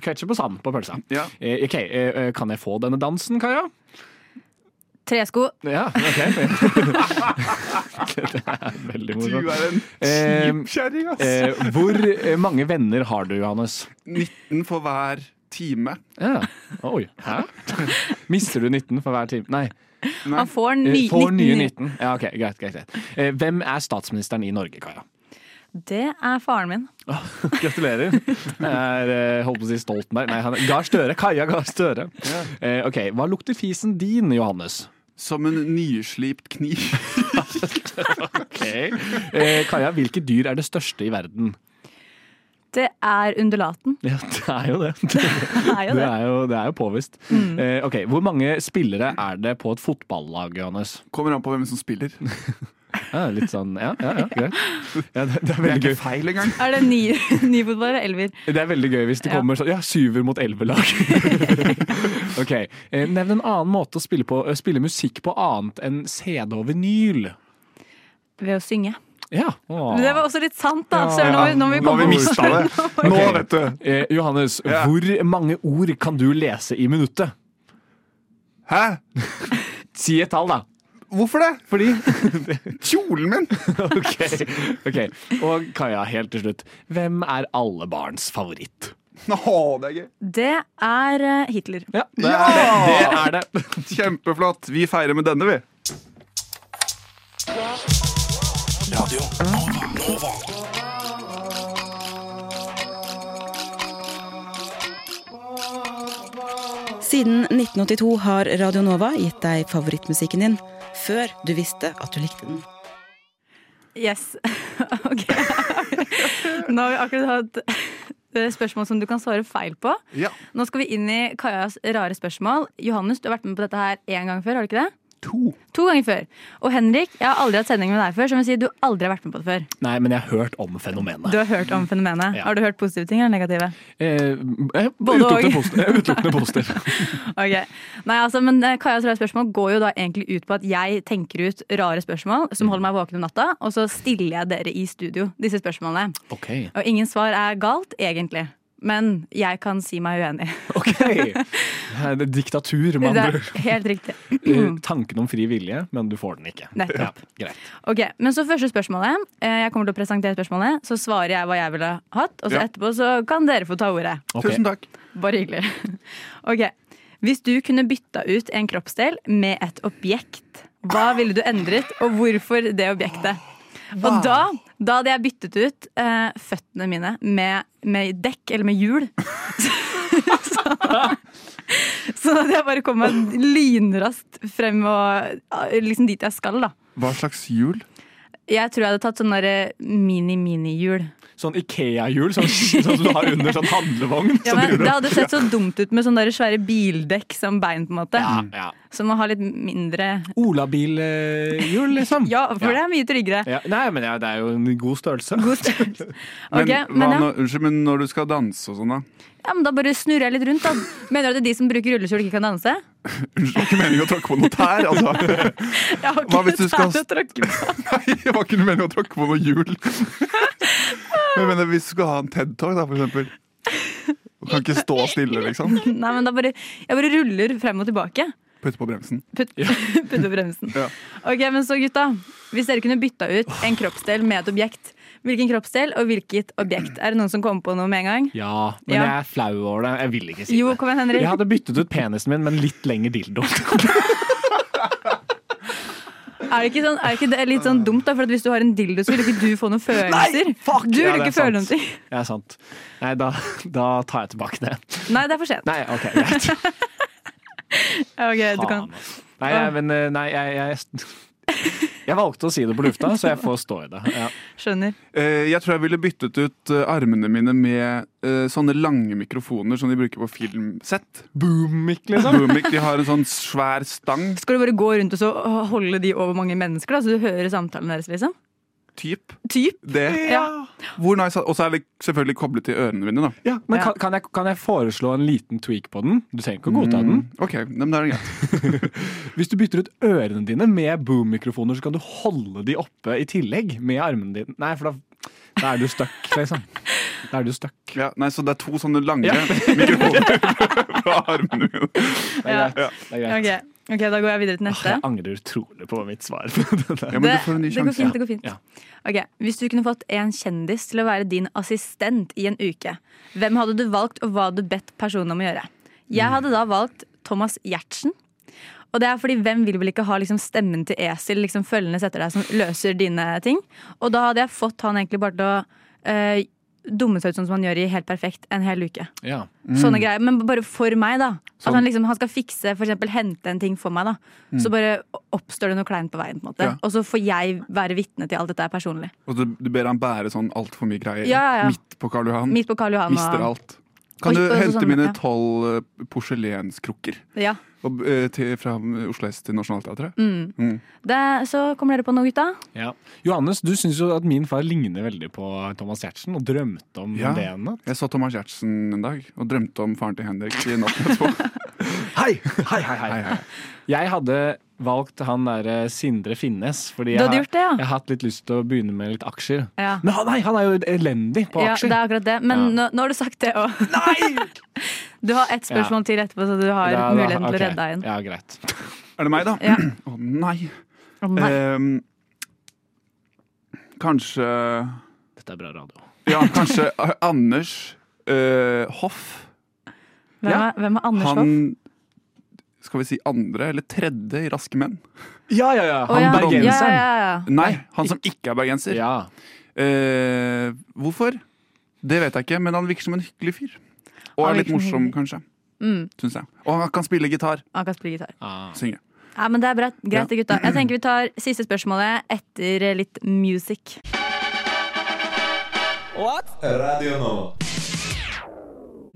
Speaker 1: Ketsjup og sand på pølsa.
Speaker 5: Ja.
Speaker 1: Eh, ok, eh, eh, Kan jeg få denne dansen, Kaja?
Speaker 6: Tresko.
Speaker 1: Ja, ok. <laughs> det er veldig
Speaker 5: Du
Speaker 1: morsomt.
Speaker 5: er en
Speaker 1: Eh,
Speaker 5: kjip kjerring, ass.
Speaker 1: Eh, hvor eh, mange venner har du, Johannes?
Speaker 5: 19 for hver time.
Speaker 1: Ja. Oi. Hæ? Mister du 19 for hver time? Nei.
Speaker 6: Han får, ny,
Speaker 1: eh, Får nye
Speaker 6: 19.
Speaker 1: 19. Ja, ok, greit, greit, greit. Eh, Hvem er statsministeren i Norge, Kaja?
Speaker 6: Det er faren min.
Speaker 1: Gratulerer. Jeg er, eh, holdt på å si Stoltenberg. Nei, han er Gahr Støre. Kaja Gahr Støre. Eh, ok, Hva lukter fisen din, Johannes?
Speaker 5: Som en nyslipt kniv.
Speaker 1: Eh, Kaja, hvilket dyr er det største i verden?
Speaker 6: Det er undulaten.
Speaker 1: Ja, det er jo det.
Speaker 6: Det er
Speaker 1: Det
Speaker 6: jo det.
Speaker 1: er jo, det er jo påvist. Eh, ok, Hvor mange spillere er det på et fotballag, Johannes?
Speaker 5: Kommer an på hvem som spiller. Det
Speaker 1: Ja, litt sånn, ja, ja, ja greit. Ja, det, det er
Speaker 5: er
Speaker 1: veldig gøy.
Speaker 5: ikke feil engang.
Speaker 6: Er det ny, <laughs> ny fotball eller elver?
Speaker 1: Det er veldig gøy hvis det
Speaker 6: Ja.
Speaker 1: kommer sånn Ja, syver mot <laughs> elvelag. ok. eh, Nevn en annen måte å spille, på, å spille musikk på annet enn CD og vinyl.
Speaker 6: Ved å synge.
Speaker 1: Ja. åh.
Speaker 6: Men det var også litt sant, da.
Speaker 1: Ja.
Speaker 6: Søren, nå, må vi- nå må vi
Speaker 5: Nå har
Speaker 6: komme
Speaker 5: vi
Speaker 6: opp.
Speaker 5: mista det. Nå,
Speaker 1: Ok.
Speaker 5: vet du.
Speaker 1: Eh, Johannes,
Speaker 5: Ja.
Speaker 1: hvor mange ord kan du lese i minuttet?
Speaker 5: Hæ?
Speaker 1: Si et tall, da.
Speaker 5: Hvorfor det?
Speaker 1: Fordi
Speaker 5: Kjolen min!
Speaker 1: Ok. ok. Og Kaja, helt til slutt. Hvem er alle barns favoritt?
Speaker 5: Nå, det er gøy.
Speaker 6: Det er eh, Hitler.
Speaker 1: Ja, det,
Speaker 5: Ja!
Speaker 1: det
Speaker 5: Ah.
Speaker 1: er det.
Speaker 5: Kjempeflott. Vi feirer med denne, vi.
Speaker 9: Siden 1982 har Radio Nova gitt deg favorittmusikken din før du visste at du likte den.
Speaker 6: Yes. <laughs> ok. Nå har vi akkurat hatt eh, spørsmål som du kan svare feil på.
Speaker 5: Ja.
Speaker 6: Nå skal vi inn i Kajas rare spørsmål. Johannes, du har vært med på dette her én gang før, har du ikke det?
Speaker 5: To.
Speaker 6: To ganger før. Og Henrik, jeg har aldri hatt sending med deg før, som vil si du aldri har vært med på det før.
Speaker 1: Nei, men jeg har hørt om fenomenet.
Speaker 6: Du har hørt om fenomenet.
Speaker 1: Ja.
Speaker 6: Har du hørt positive ting eller negative?
Speaker 1: Eh, eh,
Speaker 6: Både
Speaker 1: utelukkende
Speaker 6: og.
Speaker 1: positiv- eh,
Speaker 6: <laughs>
Speaker 1: Utelukkende positiv.
Speaker 6: Ok. Nei, altså, men eh, Kajas rare spørsmål går jo da egentlig ut på at jeg tenker ut rare spørsmål
Speaker 5: Mm.
Speaker 6: som holder meg våken om natta, og så stiller jeg dere i studio disse spørsmålene.
Speaker 1: Ok.
Speaker 6: Og ingen svar er galt, egentlig. Men jeg kan si meg uenig.
Speaker 1: ok. Det er diktatur, <laughs> med
Speaker 6: Det
Speaker 1: andre
Speaker 6: er
Speaker 1: ord.
Speaker 6: helt riktig.
Speaker 1: <clears throat> Eh, Tanken om fri vilje, men du får den ikke. Ja,
Speaker 6: Nettopp.
Speaker 1: greit.
Speaker 6: <clears throat> Ok, Men så første spørsmålet. Eh, Jeg kommer til å presentere spørsmålet. Så svarer jeg hva jeg ville hatt, og så
Speaker 5: Ja.
Speaker 6: etterpå så kan dere få ta ordet.
Speaker 1: Ok.
Speaker 5: Tusen takk.
Speaker 6: Bare hyggelig. <laughs> Ok. Hvis du kunne bytta ut en kroppsdel med et objekt, hva ville du endret, og hvorfor det objektet? Og da, da hadde jeg byttet ut eh, føttene mine med, med dekk eller med hjul. <laughs> så, sånn at jeg bare kom meg lynraskt frem og ja, liksom dit jeg skal, da.
Speaker 5: Hva slags hjul?
Speaker 6: Jeg tror jeg hadde tatt sånne derre mini-mini-hjul.
Speaker 1: Sånn Ikea-hjul, sånn, sånn som du har under sånn handlevogn.
Speaker 6: Ja,
Speaker 1: som
Speaker 6: men
Speaker 1: du-
Speaker 6: det hadde sett så dumt ut med sånne derre svære bildekk som bein, på en måte.
Speaker 1: ja, ja.
Speaker 6: Så man har litt mindre
Speaker 1: Olabilhjul, liksom.
Speaker 6: Ja, for
Speaker 1: Ja.
Speaker 6: det er mye tryggere.
Speaker 1: Ja, nei, men ja, det er jo en god størrelse.
Speaker 6: God
Speaker 1: <laughs>
Speaker 6: størrelse. Ok,
Speaker 5: Men,
Speaker 6: men,
Speaker 5: hva
Speaker 6: ja.
Speaker 5: når, unnskyld, men når du skal danse og sånn, da?
Speaker 6: ja, men Da bare snurrer jeg litt rundt. da Mener du at de som bruker rullestol, ikke kan
Speaker 1: <laughs>
Speaker 6: danse?
Speaker 5: Unnskyld, det var ikke meningen å tråkke på noe tær. Altså. <laughs>
Speaker 6: Jeg har ikke
Speaker 5: Hva hvis du
Speaker 6: tær
Speaker 5: skal-
Speaker 6: å <laughs> tråkke på.
Speaker 5: Nei, det var ikke meningen å tråkke på noe hjul. Men jeg mener, hvis du skal ha en TED-talk, da, for eksempel. Du kan ikke stå stille, liksom.
Speaker 6: Nei, men da bare, Jeg bare ruller frem og tilbake.
Speaker 5: Putte på bremsen.
Speaker 6: Putt, <laughs> putt på bremsen.
Speaker 5: Ja.
Speaker 6: Ok, men så gutta Hvis dere kunne bytta ut en kroppsdel med et objekt, hvilken kroppsdel og hvilket objekt? Er det noen som kommer på noe med en gang?
Speaker 1: Ja, men
Speaker 6: Ja.
Speaker 1: jeg er flau over det. Jeg vil ikke si
Speaker 6: Jo,
Speaker 1: det.
Speaker 6: kom igjen, Henrik.
Speaker 1: Jeg hadde byttet ut penisen min med en litt lengre dildo.
Speaker 6: Er det ikke, sånn, er det ikke det litt sånn dumt, da? For at hvis du har en dildo, så vil ikke du få noen følelser.
Speaker 1: fuck!
Speaker 6: Du
Speaker 1: Ja,
Speaker 6: vil
Speaker 1: det er
Speaker 6: ikke
Speaker 1: sant.
Speaker 6: føle noen ting.
Speaker 1: Det er sant. Nei, da, da tar jeg tilbake det.
Speaker 6: Nei, det er for sent.
Speaker 1: Nei,
Speaker 6: <laughs>
Speaker 1: ok, greit.
Speaker 6: Ok, du kan.
Speaker 1: Faen, ass. Nei, jeg, men eh, nei, jeg, jeg jeg valgte å si det på lufta, så jeg får stå i det. Ja.
Speaker 6: Skjønner.
Speaker 5: Eh, Jeg tror jeg ville byttet ut eh, armene mine med eh, sånne lange mikrofoner som de bruker på filmsett.
Speaker 1: Boom-mic,
Speaker 5: Boomik, de har en sånn svær stang.
Speaker 6: Skal du bare gå rundt og så holde de over mange mennesker, da, så du hører samtalen deres? liksom?
Speaker 5: Typ
Speaker 6: Typ.
Speaker 5: det.
Speaker 6: Ja.
Speaker 5: Hvor nice, at- Og så er det selvfølgelig koblet til ørene mine, da.
Speaker 1: Ja, men
Speaker 6: Ja.
Speaker 1: Kan, kan, jeg, kan jeg foreslå en liten tweak på den? Du trenger ikke å godta den.
Speaker 6: Mm.
Speaker 5: Ok, men da er det greit.
Speaker 1: Hvis du bytter ut ørene dine med boom-mikrofoner, så kan du holde de oppe i tillegg med armene dine. Nei, for da, da er du stuck, liksom. Da er du stuck.
Speaker 5: Ja, nei, så det er to sånne lange
Speaker 1: Ja.
Speaker 6: <laughs>
Speaker 5: mikrofoner på armene mine.
Speaker 1: Det er greit. Det er greit.
Speaker 6: Ok, Ok, da går jeg videre til
Speaker 1: Åh,
Speaker 6: neste.
Speaker 1: jeg angrer utrolig på mitt svar. på det der.
Speaker 5: Ja, men du får en ny
Speaker 6: det går
Speaker 5: sjanse.
Speaker 6: fint. det går fint
Speaker 1: Ja.
Speaker 6: Ok, Hvis du kunne fått en kjendis til å være din assistent i en uke, hvem hadde du valgt, og hva hadde du bedt personen om å gjøre?
Speaker 5: Mm.
Speaker 6: Jeg hadde da valgt Thomas Giertsen. Og det er fordi Hvem vil vel ikke ha liksom stemmen til esel liksom følgende etter deg som løser dine ting? Og da hadde jeg fått han egentlig bare til å eh, dumme seg ut sånn som han gjør i Helt perfekt en hel uke.
Speaker 1: Ja.
Speaker 6: Sånne greier, Men bare for meg, da.
Speaker 5: Sånn.
Speaker 6: At han liksom, han skal fikse, for eksempel hente en ting for meg. da Så bare oppstår det noe kleint på veien. på en måte
Speaker 5: Ja.
Speaker 6: Og så får jeg være vitne til alt dette her personlig.
Speaker 5: Og du, du ber han bære sånn altfor mye greier
Speaker 6: Ja, ja, ja.
Speaker 5: midt på Karl Johan.
Speaker 6: Midt på Karl Johan.
Speaker 5: Mister
Speaker 6: og-
Speaker 5: alt. Kan
Speaker 6: Oi,
Speaker 5: du
Speaker 6: og så
Speaker 5: hente
Speaker 6: sånn,
Speaker 5: mine
Speaker 6: ja.
Speaker 5: tolv eh, porselenskrukker
Speaker 6: Ja.
Speaker 5: og, eh, til, fra Oslo S til Nationaltheatret?
Speaker 6: Mm. Det, så kommer dere på noe, gutta?
Speaker 1: Ja. Johannes, du syns jo at min far ligner veldig på Thomas Giertsen, og drømte om
Speaker 5: Ja.
Speaker 1: det en natt.
Speaker 5: Jeg så Thomas Giertsen en dag og drømte om faren til Henrik i natten etterpå.
Speaker 6: <laughs>
Speaker 1: Hei! Hei, hei, hei.
Speaker 5: Hei, hei.
Speaker 1: Jeg hadde valgt han derre Sindre Finnes, fordi
Speaker 6: Du
Speaker 1: jeg
Speaker 6: hadde
Speaker 1: har,
Speaker 6: gjort det, ja?
Speaker 1: jeg har hatt litt lyst til å begynne med litt aksjer.
Speaker 6: Ja.
Speaker 1: Men han, nei, han er jo elendig på
Speaker 6: ja, det
Speaker 1: aksjer.
Speaker 6: er akkurat det. Men nå, nå har du sagt det òg. <laughs> Du har ett spørsmål til etterpå, så du har
Speaker 1: Da- da-
Speaker 6: muligheten til å
Speaker 1: ok.
Speaker 6: redde deg inn.
Speaker 1: Ja, greit.
Speaker 5: Er det meg, da? <clears throat> Å
Speaker 6: Ja.
Speaker 5: nei.
Speaker 6: Å, nei.
Speaker 5: Ehm, kanskje
Speaker 1: Dette er bra radio.
Speaker 5: Ja, kanskje eh, Anders eh, Hoff.
Speaker 6: Hvem,
Speaker 1: ja.
Speaker 6: er, hvem er Anders Hoff?
Speaker 5: Han skal vi si andre eller tredje i Raske menn?
Speaker 1: Ja, ja, ja.
Speaker 6: Å,
Speaker 1: Han
Speaker 6: ja. Ja,
Speaker 1: bergenseren.
Speaker 6: ja, ja.
Speaker 5: Nei, han som ikke er bergenser.
Speaker 1: Ja.
Speaker 5: Eh, hvorfor? Det vet jeg ikke, men han virker som en hyggelig fyr. Og
Speaker 6: Han
Speaker 5: er litt
Speaker 6: virker som
Speaker 5: morsom,
Speaker 6: en
Speaker 5: kanskje.
Speaker 6: Mm,
Speaker 5: Synes jeg. Og han kan spille gitar.
Speaker 6: han kan spille gitar.
Speaker 1: Ah.
Speaker 5: Synge.
Speaker 6: Ja, men det er bra. greit, det, gutta. Jeg tenker vi tar siste spørsmålet etter litt music.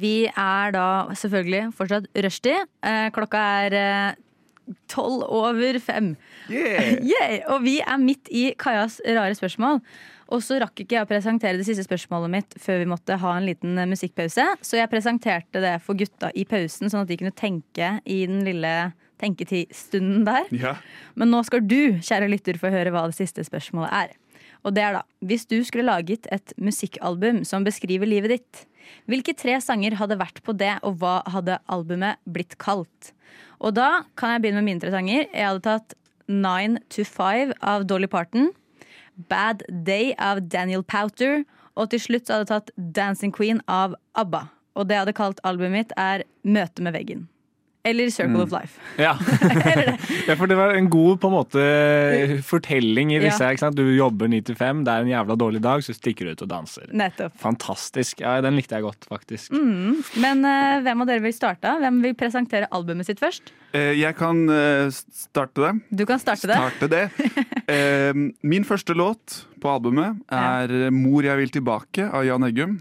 Speaker 6: Vi er da selvfølgelig fortsatt rushtid. Eh, Klokka er eh, tolv over fem. <laughs> Yay! Og vi er midt i Kajas rare spørsmål. Og så rakk ikke jeg å presentere det siste spørsmålet mitt før vi måtte ha en liten eh, musikkpause, så jeg presenterte det for gutta i pausen, sånn at de kunne tenke i den lille tenketidstunden der.
Speaker 5: Ja.
Speaker 6: Men nå skal du, kjære lytter, få høre hva det siste spørsmålet er. Og det er da, hvis du skulle laget et musikkalbum som beskriver livet ditt, hvilke tre sanger hadde vært på det, og hva hadde albumet blitt kalt? Og da kan jeg begynne med mine tre sanger. Jeg hadde tatt Nine to Five av Dolly Parton, Bad Day av Daniel Powter, og til slutt så hadde jeg tatt Dancing Queen av ABBA. Og det jeg hadde kalt albumet mitt er Møte med veggen. Eller Circle of Life.
Speaker 1: <laughs> Ja. ja, for det Mm. var en god på en måte fortelling i disse.
Speaker 6: Ja.
Speaker 1: ikke sant? Du jobber 9 til 5, det er en jævla dårlig dag, så stikker du ut og danser.
Speaker 6: Nettopp.
Speaker 1: Fantastisk. Ja, Den likte jeg godt, faktisk.
Speaker 6: Men eh, hvem av dere vil starte? Hvem vil presentere albumet sitt først?
Speaker 5: Eh, jeg kan eh, starte det.
Speaker 6: Du kan starte det.
Speaker 5: Starte det. Eh, min første låt på albumet er 'Mor jeg vil tilbake' av Jan Eggum.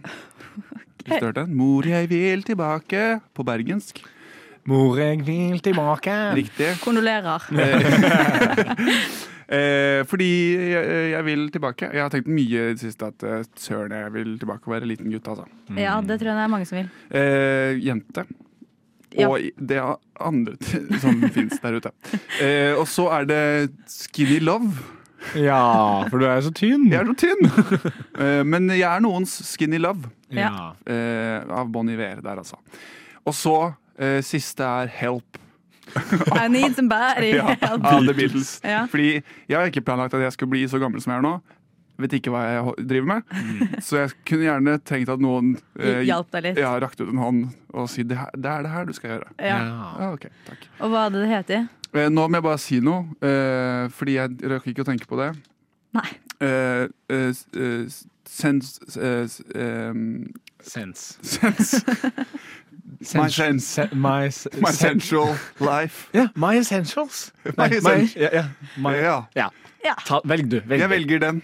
Speaker 5: Hvis du hørte den. 'Mor jeg vil tilbake' på bergensk.
Speaker 1: Mor, jeg vil tilbake.
Speaker 5: Riktig.
Speaker 6: Kondolerer.
Speaker 5: Eh, fordi jeg, jeg vil tilbake. Jeg har tenkt mye i det siste at eh, søren, jeg vil tilbake og være liten gutt, altså.
Speaker 6: Ja, det tror jeg det er mange som vil.
Speaker 5: Eh, jente.
Speaker 6: Ja.
Speaker 5: Og i- det er andre t- som <laughs> fins der ute. Eh, og så er det Skinny Love.
Speaker 1: Ja, for du er jo så tynn.
Speaker 5: Jeg er så
Speaker 6: <laughs>
Speaker 5: tynn! Eh, men jeg er noens Skinny Love.
Speaker 1: Ja.
Speaker 5: Eh, av Bon Iver der, altså. Og så eh, siste er Help.
Speaker 6: I need somebody. <laughs>
Speaker 5: Ja, av The Beatles.
Speaker 6: Ja.
Speaker 5: Fordi jeg har ikke planlagt at jeg skulle bli så gammel som jeg er nå. Vet ikke hva jeg ho- driver med. Så jeg kunne gjerne tenkt at noen eh,
Speaker 6: Hjalp deg litt.
Speaker 5: Ja, rakte ut en hånd og si det, her, det er det her du skal gjøre.
Speaker 6: Ja.
Speaker 1: Ja.
Speaker 5: Ja, ok, takk.
Speaker 6: Og hva hadde det hett?
Speaker 5: Eh, nå må jeg bare si noe, eh, fordi jeg rakk ikke å tenke på det.
Speaker 6: Nei. <laughs>
Speaker 5: Eh, eh, s- eh, s- sens eh, <laughs> s- em,
Speaker 1: Sense.
Speaker 5: Sens My sense.
Speaker 1: Se- My, s-
Speaker 5: My
Speaker 1: sen-
Speaker 5: sensual life.
Speaker 1: Ja, my essentials. Nei,
Speaker 5: <laughs> My essentials.
Speaker 1: ja, ja. My, ja.
Speaker 5: Ja,
Speaker 1: Ta, velg du. Velg.
Speaker 5: jeg velger den.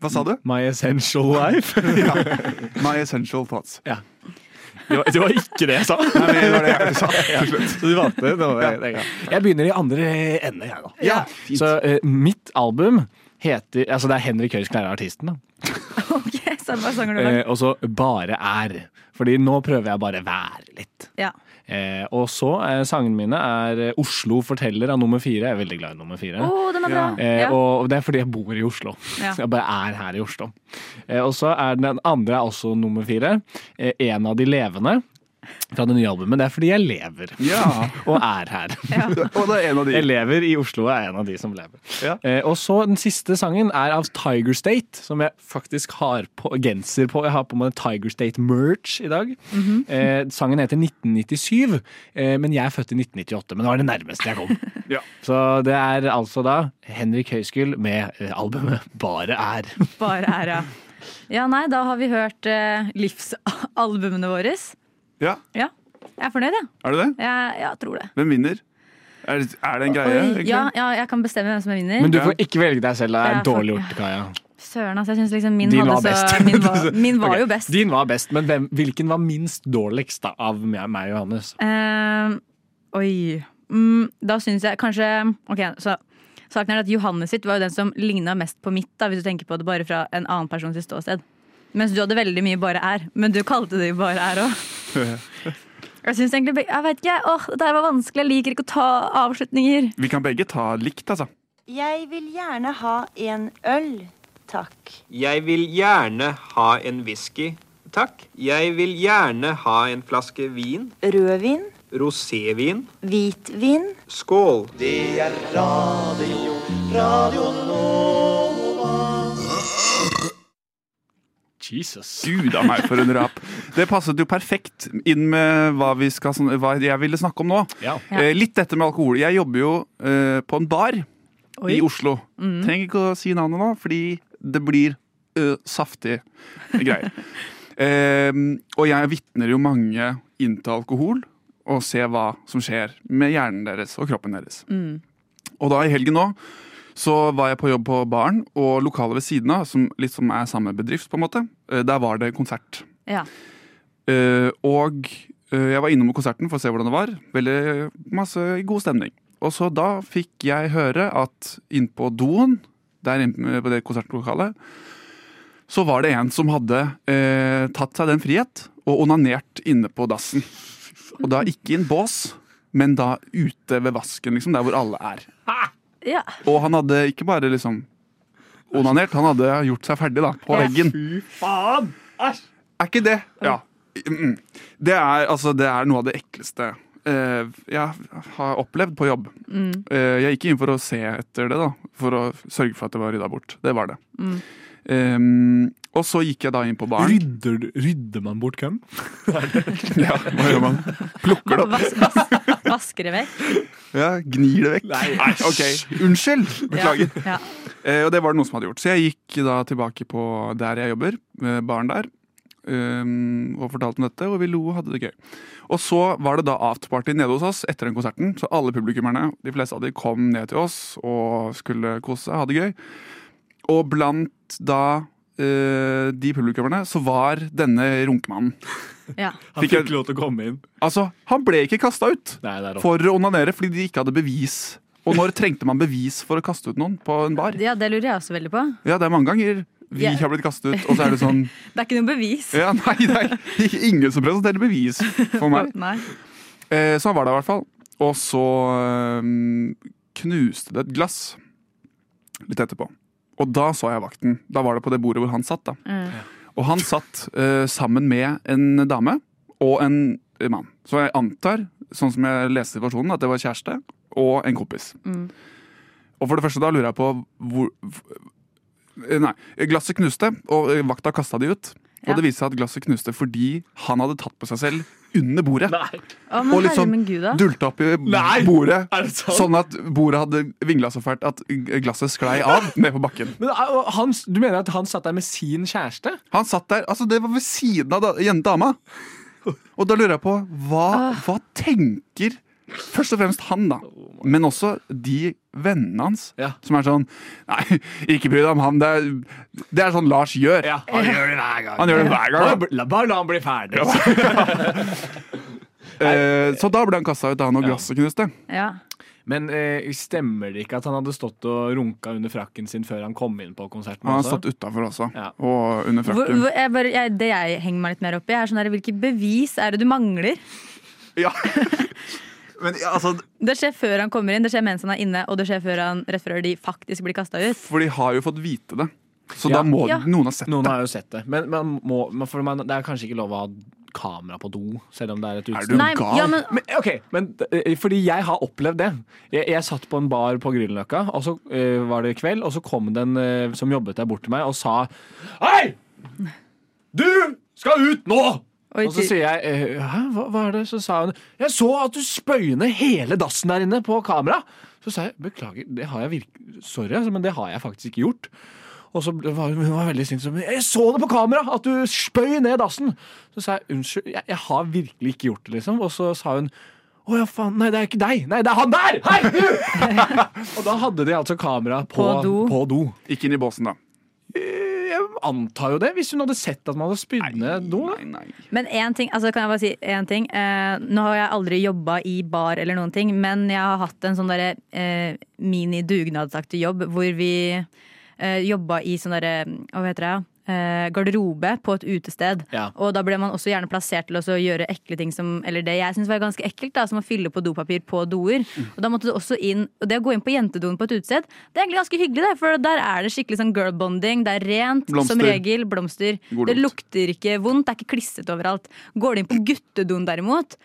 Speaker 5: Hva sa du?
Speaker 1: My essential life. <laughs>
Speaker 5: Ja. My essential thoughts.
Speaker 1: Det var, det var ikke det jeg sa.
Speaker 5: Nei, men det var det jeg sa til slutt.
Speaker 1: Så du valgte det. var- Jeg begynner i andre ende, jeg, da.
Speaker 5: Ja,
Speaker 1: Så eh, mitt album heter Altså det er Henrik Høisklein er artisten, da.
Speaker 6: Ok, samme sanger du
Speaker 1: Eh,
Speaker 6: har.
Speaker 1: og så bare er. Fordi nå prøver jeg bare være litt.
Speaker 6: Ja.
Speaker 1: Eh, og så eh, sangene mine er eh, Oslo forteller av nummer fire. Jeg er veldig glad i nummer fire.
Speaker 6: Å, den er bra!
Speaker 1: Eh,
Speaker 6: Ja.
Speaker 1: og det er fordi jeg bor i Oslo.
Speaker 6: Ja.
Speaker 1: <laughs> Jeg bare er her i Oslo. Eh, og så er den andre er også nummer fire. Eh, en av de levende fra det nye albumet. Det er fordi jeg lever
Speaker 5: Ja.
Speaker 1: og er her.
Speaker 5: Og det er en av de.
Speaker 1: Jeg lever i Oslo og er en av de som lever.
Speaker 5: Ja.
Speaker 1: Eh, og så den siste sangen er av Tiger State, som jeg faktisk har på genser på. Jeg har på meg Tiger State-merch i dag.
Speaker 6: Mhm.
Speaker 1: eh, sangen heter 1997, eh, men jeg er født i 1998. Men det var det nærmeste jeg kom.
Speaker 5: <laughs> Ja.
Speaker 1: Så det er altså da Henrik Høiskull med eh, albumet 'Bare
Speaker 6: <laughs>
Speaker 1: er'.
Speaker 6: Bare er, ja. Ja, nei, da har vi hørt eh, livsalbumene våre.
Speaker 5: Ja,
Speaker 6: Ja. Jeg er fornøyd, jeg.
Speaker 5: Er det det?
Speaker 6: Ja. Jeg, jeg tror det.
Speaker 5: Hvem vinner? Er, er det en greie?
Speaker 6: Oi,
Speaker 5: egentlig?
Speaker 6: ja, ja, jeg kan bestemme hvem som er vinner.
Speaker 1: Men du får ikke velge deg selv. Det er
Speaker 6: Ja, for-
Speaker 1: dårlig gjort, Kaja.
Speaker 6: Søren, altså. Jeg synes liksom min,
Speaker 1: Din
Speaker 6: hadde
Speaker 1: var
Speaker 6: så,
Speaker 1: best.
Speaker 6: min
Speaker 1: <laughs>
Speaker 6: var, min var
Speaker 1: Ok,
Speaker 6: jo best.
Speaker 1: Din var best, men hvem, hvilken var minst dårligst da, av meg meg og Johannes?
Speaker 6: Eh, oi. Mm, da syns jeg kanskje Ok, så saken er at Johannes sitt var jo den som ligna mest på mitt, da, hvis du tenker på det bare fra en annen persons ståsted. Mens du hadde veldig mye 'bare er'. Men du kalte det jo 'bare er' òg. Jeg syns egentlig be- Jeg vet ikke, åh, dette her var vanskelig. Jeg liker ikke å ta avslutninger.
Speaker 5: Vi kan begge ta likt, altså.
Speaker 10: Jeg vil gjerne ha en øl, takk.
Speaker 2: Jeg vil gjerne ha en whisky. Takk. Jeg vil gjerne ha en flaske vin.
Speaker 10: Rødvin,
Speaker 2: Rosévin.
Speaker 10: hvitvin.
Speaker 2: Skål.
Speaker 1: Jesus.
Speaker 5: Gud a meg, for en rap. Det passet jo perfekt inn med hva, vi skal, sånn- hva jeg ville snakke om nå.
Speaker 1: Ja.
Speaker 6: Ja.
Speaker 5: Eh, litt dette med alkohol. Jeg jobber jo eh, på en bar i Oslo. Trenger ikke å si navnet nå, fordi det blir eh, saftige greier. Eh, og jeg vitner jo mange inn til alkohol og ser hva som skjer med hjernen deres og kroppen deres. Og da i helgen nå så var jeg på jobb på baren, og lokalet ved siden av, som litt som er samme bedrift, på en måte, eh, der var det konsert.
Speaker 6: Ja.
Speaker 5: Eh, og eh, jeg var innom konserten for å se hvordan det var. Veldig masse god stemning. Og så da fikk jeg høre at innpå doen, der inne på det konsertlokalet, så var det en som hadde eh, tatt seg den frihet og onanert inne på dassen. Og da ikke i en bås, men da ute ved vasken, liksom, der hvor alle er.
Speaker 6: ja.
Speaker 5: Og han hadde ikke bare liksom onanert, han hadde gjort seg ferdig da, på veggen. Er ikke det? Ja. Mm. Det er, altså, det er noe av det ekleste eh, jeg har opplevd på jobb. Eh, jeg gikk inn for å se etter det, da, for å sørge for at det var rydda bort. Det var det. Eh, og så gikk jeg da inn på baren.
Speaker 1: Rydder, du- rydder man bort hvem?
Speaker 5: <laughs> Ja, hva gjør man? Plukker det opp?
Speaker 6: Vas, vas, vasker det vekk.
Speaker 5: Ja, gnir det vekk? Nei, ok. Unnskyld! Beklager.
Speaker 6: Ja.
Speaker 5: Eh, og det var det noen som hadde gjort. Så jeg gikk da tilbake på der jeg jobber, eh, baren der, ehm, og fortalte om dette, og vi lo og hadde det gøy. Og så var det da afterparty nede hos oss etter den konserten, så alle publikummerne, de fleste av de, kom ned til oss og skulle kose seg, ha det gøy. Og blant da eh, de publikummerne, så var denne runkemannen.
Speaker 6: Ja.
Speaker 1: Han
Speaker 5: Fikk jeg-
Speaker 1: fikk lov til å komme inn.
Speaker 5: Altså, han ble ikke kasta ut!
Speaker 1: Nei, det er rått.
Speaker 5: for å onanere fordi de ikke hadde bevis. Og når trengte man bevis for å kaste ut noen på en bar?
Speaker 6: ja, det lurer jeg også veldig på.
Speaker 5: Ja, det er mange ganger vi
Speaker 6: Ja.
Speaker 5: har blitt kastet ut, og så er det sånn <laughs>
Speaker 6: Det er ikke noe bevis.
Speaker 5: Ja, nei, det er ikke- ingen som presenterer bevis for meg.
Speaker 6: Nei.
Speaker 5: Eh, Så han var der i hvert fall. Og så eh, knuste det et glass litt etterpå. Og da så jeg vakten. Da var det på det bordet hvor han satt, da.
Speaker 6: Mm.
Speaker 5: Og han satt eh, sammen med en dame og en eh, mann. Så jeg antar, sånn som jeg leste situasjonen, at det var kjæreste og en kompis.
Speaker 6: Mm.
Speaker 5: Og for det første da lurer jeg på hvor eh, Nei, glasset knuste, og eh, vakta kasta de ut.
Speaker 6: Ja.
Speaker 5: Og det viste seg at glasset knuste fordi han hadde tatt på seg selv under bordet.
Speaker 6: Å, men
Speaker 5: Og litt
Speaker 6: herre
Speaker 5: sånn
Speaker 6: min gud, da.
Speaker 5: Dulta opp i
Speaker 1: Nei!
Speaker 5: bordet,
Speaker 1: Er det sant?
Speaker 5: sånn at bordet hadde vingla så fælt at glasset sklei av ned på bakken.
Speaker 1: Men, eh, og han, du mener at han satt der med sin kjæreste?
Speaker 5: Han satt der, altså det var ved siden av da, jen- dama. Og da lurer jeg på, hva,
Speaker 6: Ah.
Speaker 5: hva tenker først og fremst han da? Men også de vennene hans,
Speaker 1: Oh Ja.
Speaker 5: som er sånn, nei, ikke bry deg om han, det er, det er sånn Lars gjør.
Speaker 1: Han gjør det hver gang.
Speaker 5: Han gjør det hver gang. da.
Speaker 1: Bare, bare la han bli ferdig.
Speaker 5: Eh, så da ble han kastet ut da han og glasset knuste.
Speaker 6: Ja.
Speaker 1: Men eh, stemmer det ikke at han hadde stått og runka under frakken sin før han kom inn på konserten?
Speaker 5: Han har
Speaker 1: også?
Speaker 5: stått utafor også,
Speaker 1: Ja.
Speaker 5: og under
Speaker 6: Hvor,
Speaker 5: frakken.
Speaker 6: hvor, jeg bare, jeg, det jeg henger meg litt mer opp i, er sånn der, hvilke bevis er det du mangler? <laughs>
Speaker 5: Ja. Men ja, altså,
Speaker 6: Det skjer før han kommer inn, det skjer mens han er inne, og det skjer før han, rett før de faktisk blir kasta ut.
Speaker 5: for de har jo fått vite det. Så
Speaker 1: Ja.
Speaker 5: da må
Speaker 6: Ja.
Speaker 5: noen ha sett
Speaker 1: Noen
Speaker 5: det.
Speaker 1: har jo sett det. Men man må, man, for man, det er kanskje ikke lov å ha kamera på do, selv om det er et
Speaker 5: Er
Speaker 1: utested.
Speaker 5: du
Speaker 6: Nei,
Speaker 5: gal?
Speaker 6: ja, men-
Speaker 1: Men, ok, men eh, Fordi jeg har opplevd det. Jeg, jeg satt på en bar på Grünerløkka, og så eh, var det kveld, og så kom den eh, som jobbet der bort til meg og sa Hei! Du skal ut nå!
Speaker 6: Oi,
Speaker 1: Og så
Speaker 6: ty-
Speaker 1: sier jeg eh, Hæ, hva, hva er det? Så sa hun Jeg så at du spøy ned hele dassen der inne på kamera. Så sa jeg beklager, det har jeg virk- Sorry, altså, men det har jeg faktisk ikke gjort. Og så ble- var hun hun var veldig sint. sånn, Jeg så det på kamera! At du spøy ned dassen! Så sa jeg unnskyld, jeg, jeg har virkelig ikke gjort det, liksom. Og så sa hun å ja, faen. Nei, det er ikke deg! Nei, det er han der! Hei!
Speaker 6: <laughs>
Speaker 1: du!» og da hadde de altså kamera på,
Speaker 6: På do.
Speaker 1: På do.
Speaker 5: Ikke inn i båsen, da.
Speaker 1: Eh, Jeg antar jo det, hvis hun hadde sett at man hadde spydd ned do. da.
Speaker 5: Nei, nei.
Speaker 6: Men én ting, altså kan jeg bare si en ting. Eh, nå har jeg aldri jobba i bar eller noen ting, men jeg har hatt en sånn derre eh, mini-dugnadsaktig jobb hvor vi eh, jobba i sånn derre Hva heter det? Eh, garderobe på et utested.
Speaker 1: Ja.
Speaker 6: Og da ble man også gjerne plassert til å så gjøre ekle ting som Eller det jeg syns var ganske ekkelt, da, som å fylle på dopapir på doer. Og da måtte du også inn Og det å gå inn på jentedoen på et utested, det er egentlig ganske hyggelig, det. For der er det skikkelig sånn girl bonding. Det er rent, som
Speaker 5: Blomster.
Speaker 6: regel. Blomster.
Speaker 5: God
Speaker 6: Det
Speaker 5: lukt.
Speaker 6: lukter ikke vondt, det er ikke klissete overalt. Går du inn på guttedoen derimot,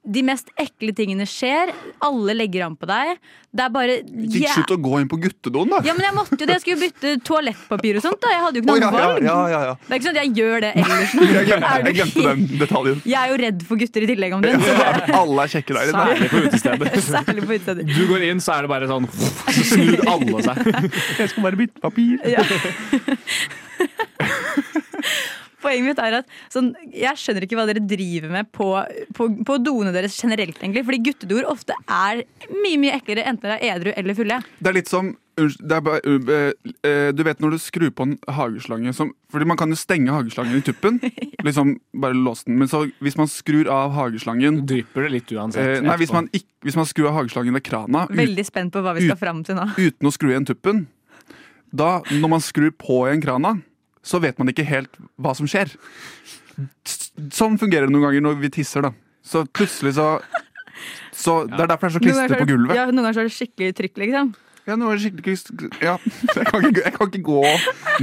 Speaker 6: de mest ekle tingene skjer. Alle legger an på deg. Det er bare
Speaker 5: Ikke
Speaker 6: Ja.
Speaker 5: slutt å gå inn på guttedoen, da!
Speaker 6: Ja, men jeg måtte jo det. Jeg skulle jo bytte toalettpapir og sånt. da Jeg hadde jo
Speaker 5: Å,
Speaker 6: ikke noe
Speaker 5: ja, ja,
Speaker 6: valg.
Speaker 5: ja, ja, ja.
Speaker 6: Det er ikke sånn at jeg gjør det ellers.
Speaker 5: Jeg glemte,
Speaker 6: Er du
Speaker 5: jeg glemte den detaljen.
Speaker 6: Jeg er jo redd for gutter i tillegg om den. Så det
Speaker 5: Alle er kjekke der inne.
Speaker 1: Særlig på utestedet.
Speaker 6: er særlig på utstedet.
Speaker 1: Du går inn, så er det bare sånn <laughs> Så snur alle seg. <laughs>
Speaker 5: Jeg skal bare bytte papir.
Speaker 6: Poenget mitt er at sånn, jeg skjønner ikke hva dere driver med på, på, på doene deres generelt, egentlig. Fordi guttedoer ofte er mye mye eklere, enten dere er edru eller fulle.
Speaker 5: Det er litt som unnskyld, det er bare, eh, eh, Du vet når du skrur på en hageslange som, Fordi man kan jo stenge hageslangen i
Speaker 6: <laughs>
Speaker 5: tuppen. Liksom bare låse den. Men så hvis man skrur av hageslangen
Speaker 1: Drypper det litt uansett.
Speaker 5: eh, Nei, hvis man, ikk- hvis man skrur av hageslangen ved krana ut,
Speaker 6: Veldig spent på hva vi skal fram
Speaker 5: <laughs>
Speaker 6: til nå.
Speaker 5: uten å skru igjen tuppen Da, når man skrur på igjen krana, så vet man ikke helt hva som skjer. S- Sånn fungerer det noen ganger når vi tisser, da. Så plutselig så så Det er derfor det er så
Speaker 6: Noen
Speaker 5: klister på
Speaker 6: ganger så er det-
Speaker 5: gulvet.
Speaker 6: Ja, noen ganger så er det skikkelig trykk, liksom.
Speaker 5: Ja, nå er det skikkelig kust- Ja, <laughs> jeg kan ikke, jeg kan ikke gå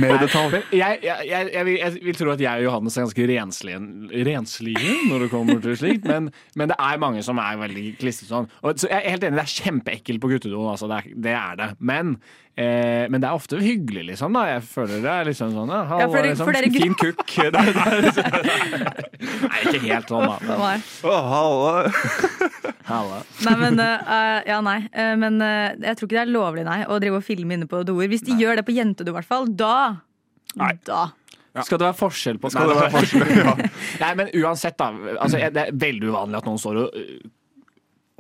Speaker 5: mer i detalj.
Speaker 1: Men jeg, jeg, jeg, jeg, vil, jeg vil tro at jeg og Johannes er ganske renslige, renslige når det kommer til slikt, men, men det er mange som er veldig klissete sånn. Og, så jeg er helt enig, det er kjempeekkelt på guttedoen, altså, det, er, det er det. Men, eh, men det er ofte hyggelig, liksom. da Jeg føler det er liksom sånn ja, hallo,
Speaker 6: Ja, for dere-
Speaker 1: liksom,
Speaker 6: for dere gutter-
Speaker 1: Fin kukk. <laughs> Det er, det er, liksom- Nei, ikke helt sånn, da.
Speaker 6: Hva <laughs> var det?
Speaker 1: Hallo.
Speaker 6: Nei, men, eh, ja, nei. Eh, men eh, jeg tror ikke det er lovlig nei, å drive og filme inne på doer. Hvis de gjør det på jentedo, i hvert fall, da Da.
Speaker 1: Skal det være forskjell på
Speaker 5: Skal det være forskjell? Ja.
Speaker 1: Nei, men uansett, da. Altså, jeg- det er veldig uvanlig at noen står og øh,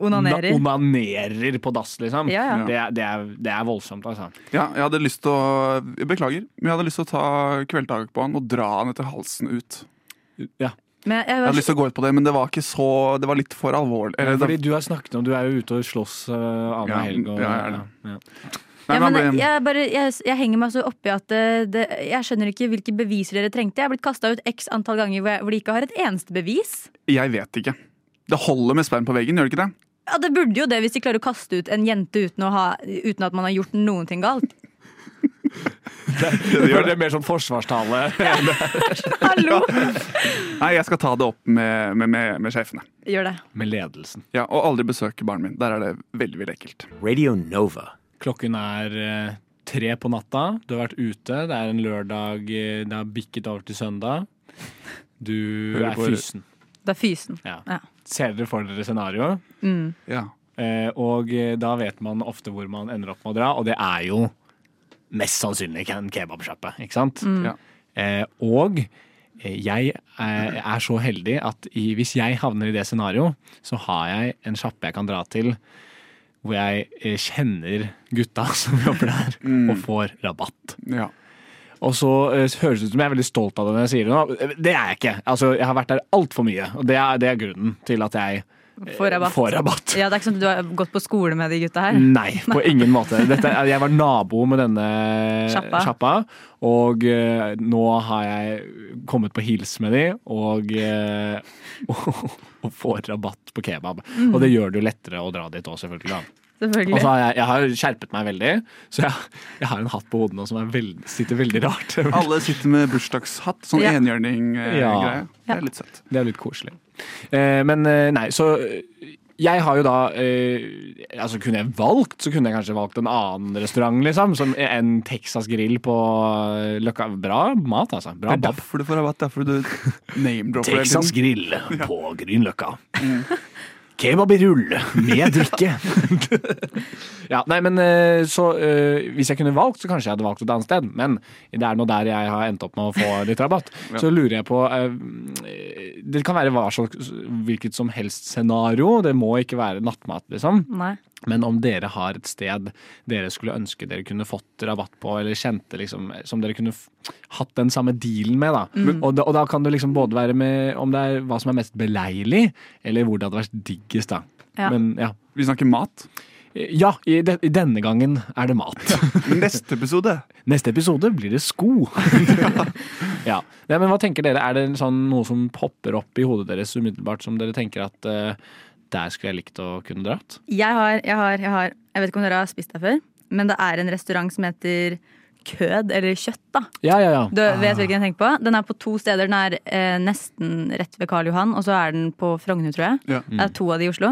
Speaker 6: Onanerer.
Speaker 1: onanerer på dass, liksom.
Speaker 6: Ja, ja.
Speaker 1: Det, er- det, er, det er voldsomt, altså.
Speaker 5: Ja, jeg hadde lyst til å jeg Beklager, men jeg hadde lyst til å ta kveldtak på han og dra han etter halsen ut.
Speaker 1: Ja.
Speaker 6: Men jeg,
Speaker 5: Jeg
Speaker 6: var
Speaker 5: hadde lyst til å gå ut på det, men det var ikke så Det var litt for alvorlig. Eller,
Speaker 1: Fordi
Speaker 5: det,
Speaker 1: du har snakket om Du er jo ute og slåss uh, annen
Speaker 5: Ja,
Speaker 1: helg. Og,
Speaker 5: ja, jeg er det.
Speaker 1: ja,
Speaker 5: <laughs>
Speaker 1: ja.
Speaker 5: nei,
Speaker 6: Ja,
Speaker 5: men
Speaker 6: men
Speaker 5: han ble,
Speaker 6: jeg, bare, jeg, jeg henger meg så oppi at det, det, jeg skjønner ikke hvilke beviser dere trengte. Jeg er blitt kasta ut x antall ganger hvor, jeg, hvor de ikke har et eneste bevis.
Speaker 5: jeg vet ikke. Det holder med sperm på veggen, gjør det ikke det?
Speaker 6: Ja, Det burde jo det hvis de klarer å kaste ut en jente uten, å ha, uten at man har gjort noen ting galt.
Speaker 1: Det <laughs> er mer sånn forsvarstale.
Speaker 6: Hallo!
Speaker 5: Nei, jeg skal ta det opp med, med, med, med sjefene.
Speaker 6: <laughs> Gjør det.
Speaker 1: Med ledelsen.
Speaker 5: Ja, Og aldri besøke barnet mitt. Der er det veldig veldig ekkelt.
Speaker 8: Radio Nova.
Speaker 1: Klokken er eh, tre på natta. Du har vært ute. Det er en lørdag. eh, Det har bikket over til søndag. Du
Speaker 5: Hører
Speaker 1: er
Speaker 5: på-
Speaker 1: fysen.
Speaker 6: Det er fysen.
Speaker 1: Ja.
Speaker 6: Ja.
Speaker 1: Ser dere for dere scenarioet?
Speaker 5: Ja.
Speaker 1: Eh, og eh, da vet man ofte hvor man ender opp med å dra, og det er jo mest sannsynlig en kebabsjappe, ikke sant?
Speaker 5: Ja.
Speaker 1: Eh, og eh, jeg er, er så heldig at i, hvis jeg havner i det scenarioet, så har jeg en sjappe jeg kan dra til hvor jeg eh, kjenner gutta <laughs> som jobber der, og får rabatt.
Speaker 5: ja.
Speaker 1: Og så eh, høres det ut som jeg er veldig stolt av det når jeg sier det nå. Det er jeg ikke. Altså, jeg har vært der altfor mye, og det er, det er grunnen til at jeg
Speaker 6: Får rabatt.
Speaker 1: Får rabatt. Mm.
Speaker 6: Ja, det er ikke sånn at du har gått på skole med de gutta her?
Speaker 1: Nei, på ingen måte. Dette, er- jeg var nabo med denne
Speaker 6: Sjappa.
Speaker 1: sjappa, og eh, nå har jeg kommet på hils med de, og, eh, <laughs> og, og får rabatt på kebab.
Speaker 6: Mm.
Speaker 1: Og det gjør det jo lettere å dra dit òg, selvfølgelig. da. Og
Speaker 6: Selvfølgelig.
Speaker 1: så har jeg, jeg har skjerpet meg veldig, så jeg, jeg har en hatt på hodet nå som er veld, sitter veldig rart.
Speaker 5: Alle sitter med bursdagshatt, sånn
Speaker 1: Ja.
Speaker 5: enhjørning-greie.
Speaker 1: Ja.
Speaker 5: Det er litt søtt.
Speaker 1: Det er litt koselig. Eh, men eh, nei, så eh, jeg har jo da eh, altså Kunne jeg valgt, så kunne jeg kanskje valgt en annen restaurant, liksom. Som en Texas grill på eh, Løkka. Bra mat, altså.
Speaker 5: Det
Speaker 1: Bra
Speaker 5: er
Speaker 1: bob.
Speaker 5: derfor du får rabatt. Derfor du name-dropper Liksom,
Speaker 1: Texas
Speaker 5: hele tiden.
Speaker 1: grill på Grünerløkka. Kebab i rull med drikke. <laughs> ja, nei, men eh, så eh, Hvis jeg kunne valgt, så kanskje jeg hadde valgt et annet sted. Men det er nå der jeg har endt opp med å få litt <laughs> rabatt.
Speaker 5: Ja.
Speaker 1: Så lurer jeg på eh, Det kan være hva slags, hvilket som helst scenario. Det må ikke være nattmat, liksom.
Speaker 6: Nei.
Speaker 1: Men om dere har et sted dere skulle ønske dere kunne fått rabatt på, eller kjente liksom, som dere kunne f hatt den samme dealen med, da.
Speaker 6: Mm.
Speaker 1: Og, da og da kan det liksom både være med om det er hva som er mest beleilig, eller hvor det hadde vært diggest, da.
Speaker 6: Ja.
Speaker 1: Men, ja.
Speaker 5: Vi snakker mat.
Speaker 1: Ja, i, de, i denne gangen er det mat.
Speaker 5: <laughs> Neste episode.
Speaker 1: <laughs> Neste episode blir det
Speaker 6: <laughs>
Speaker 1: sko. ja. Nei, men hva tenker dere? Er det en sånn, noe som popper opp i hodet deres umiddelbart, som dere tenker at eh, der skulle jeg likt å kunne dratt?
Speaker 6: Jeg har, jeg har, jeg har Jeg vet ikke om dere har spist der før, men det er en restaurant som heter Kød, eller Kjøtt, da.
Speaker 1: Ja, ja, ja.
Speaker 6: Du
Speaker 5: Ah.
Speaker 6: vet hvilken jeg tenker på? Den er på to steder. Den er eh, nesten rett ved Karl Johan, og så er den på Frogner, tror jeg.
Speaker 5: Ja. Mm.
Speaker 6: Det er to av de i Oslo.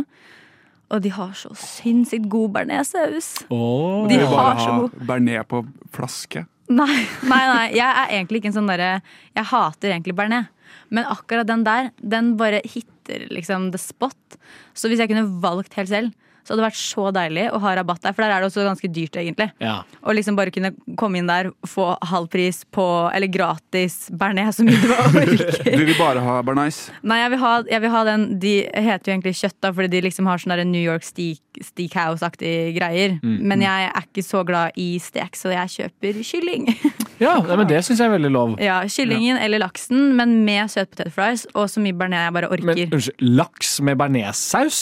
Speaker 6: Og de har så sinnssykt god bearnéssaus.
Speaker 1: Åh.
Speaker 5: Vi
Speaker 6: De
Speaker 5: vil bare
Speaker 6: har så
Speaker 5: ha <laughs>
Speaker 6: god
Speaker 5: bearnés på flaske.
Speaker 6: Nei, nei, nei, jeg er egentlig ikke en sånn derre Jeg hater egentlig bearnés. Men akkurat den der, den bare hitter liksom the spot. Så hvis jeg kunne valgt helt selv, så hadde det vært så deilig å ha rabatt der. For der er det også ganske dyrt, egentlig.
Speaker 1: Ja.
Speaker 6: Å liksom bare kunne komme inn der, få halv pris på, eller gratis bearnés så mye du
Speaker 5: <laughs>
Speaker 6: orker.
Speaker 5: Vi vil bare ha bearnés.
Speaker 6: Nei, jeg vil, ha, jeg vil ha den De heter jo egentlig kjøtt, da, fordi de liksom har sånn der New York steak, steakhouse-aktige greier.
Speaker 1: Mm.
Speaker 6: Men jeg er ikke så glad i stek, så jeg kjøper kylling. <laughs>
Speaker 1: Ja, nei, men det syns jeg er veldig lov.
Speaker 6: Ja, Kyllingen eller laksen, men med søt potet fries og så mye bearnés jeg bare
Speaker 1: Men øh,
Speaker 6: orker.
Speaker 1: unnskyld, laks med bearnéssaus?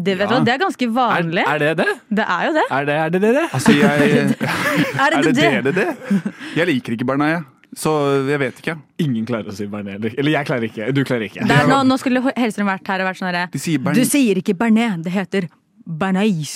Speaker 6: det, vet
Speaker 5: ja.
Speaker 6: du, hva, det er ganske
Speaker 1: Er,
Speaker 6: vanlig.
Speaker 1: er det det?
Speaker 6: det er jo det.
Speaker 1: Er det er det? det, det?
Speaker 5: Altså, <laughs> jeg
Speaker 6: Er det
Speaker 5: Er det
Speaker 6: det?
Speaker 5: det det det? Jeg liker ikke bearnés, jeg. så jeg vet ikke.
Speaker 1: Ingen klarer å si bearnés. Eller jeg klarer ikke. Du klarer ikke.
Speaker 6: Det er, nå, nå skulle Hellstrøm vært her og vært sånn herre
Speaker 5: De sier
Speaker 6: Du
Speaker 5: bearnés.
Speaker 6: sier ikke bearnés, det heter bearnés.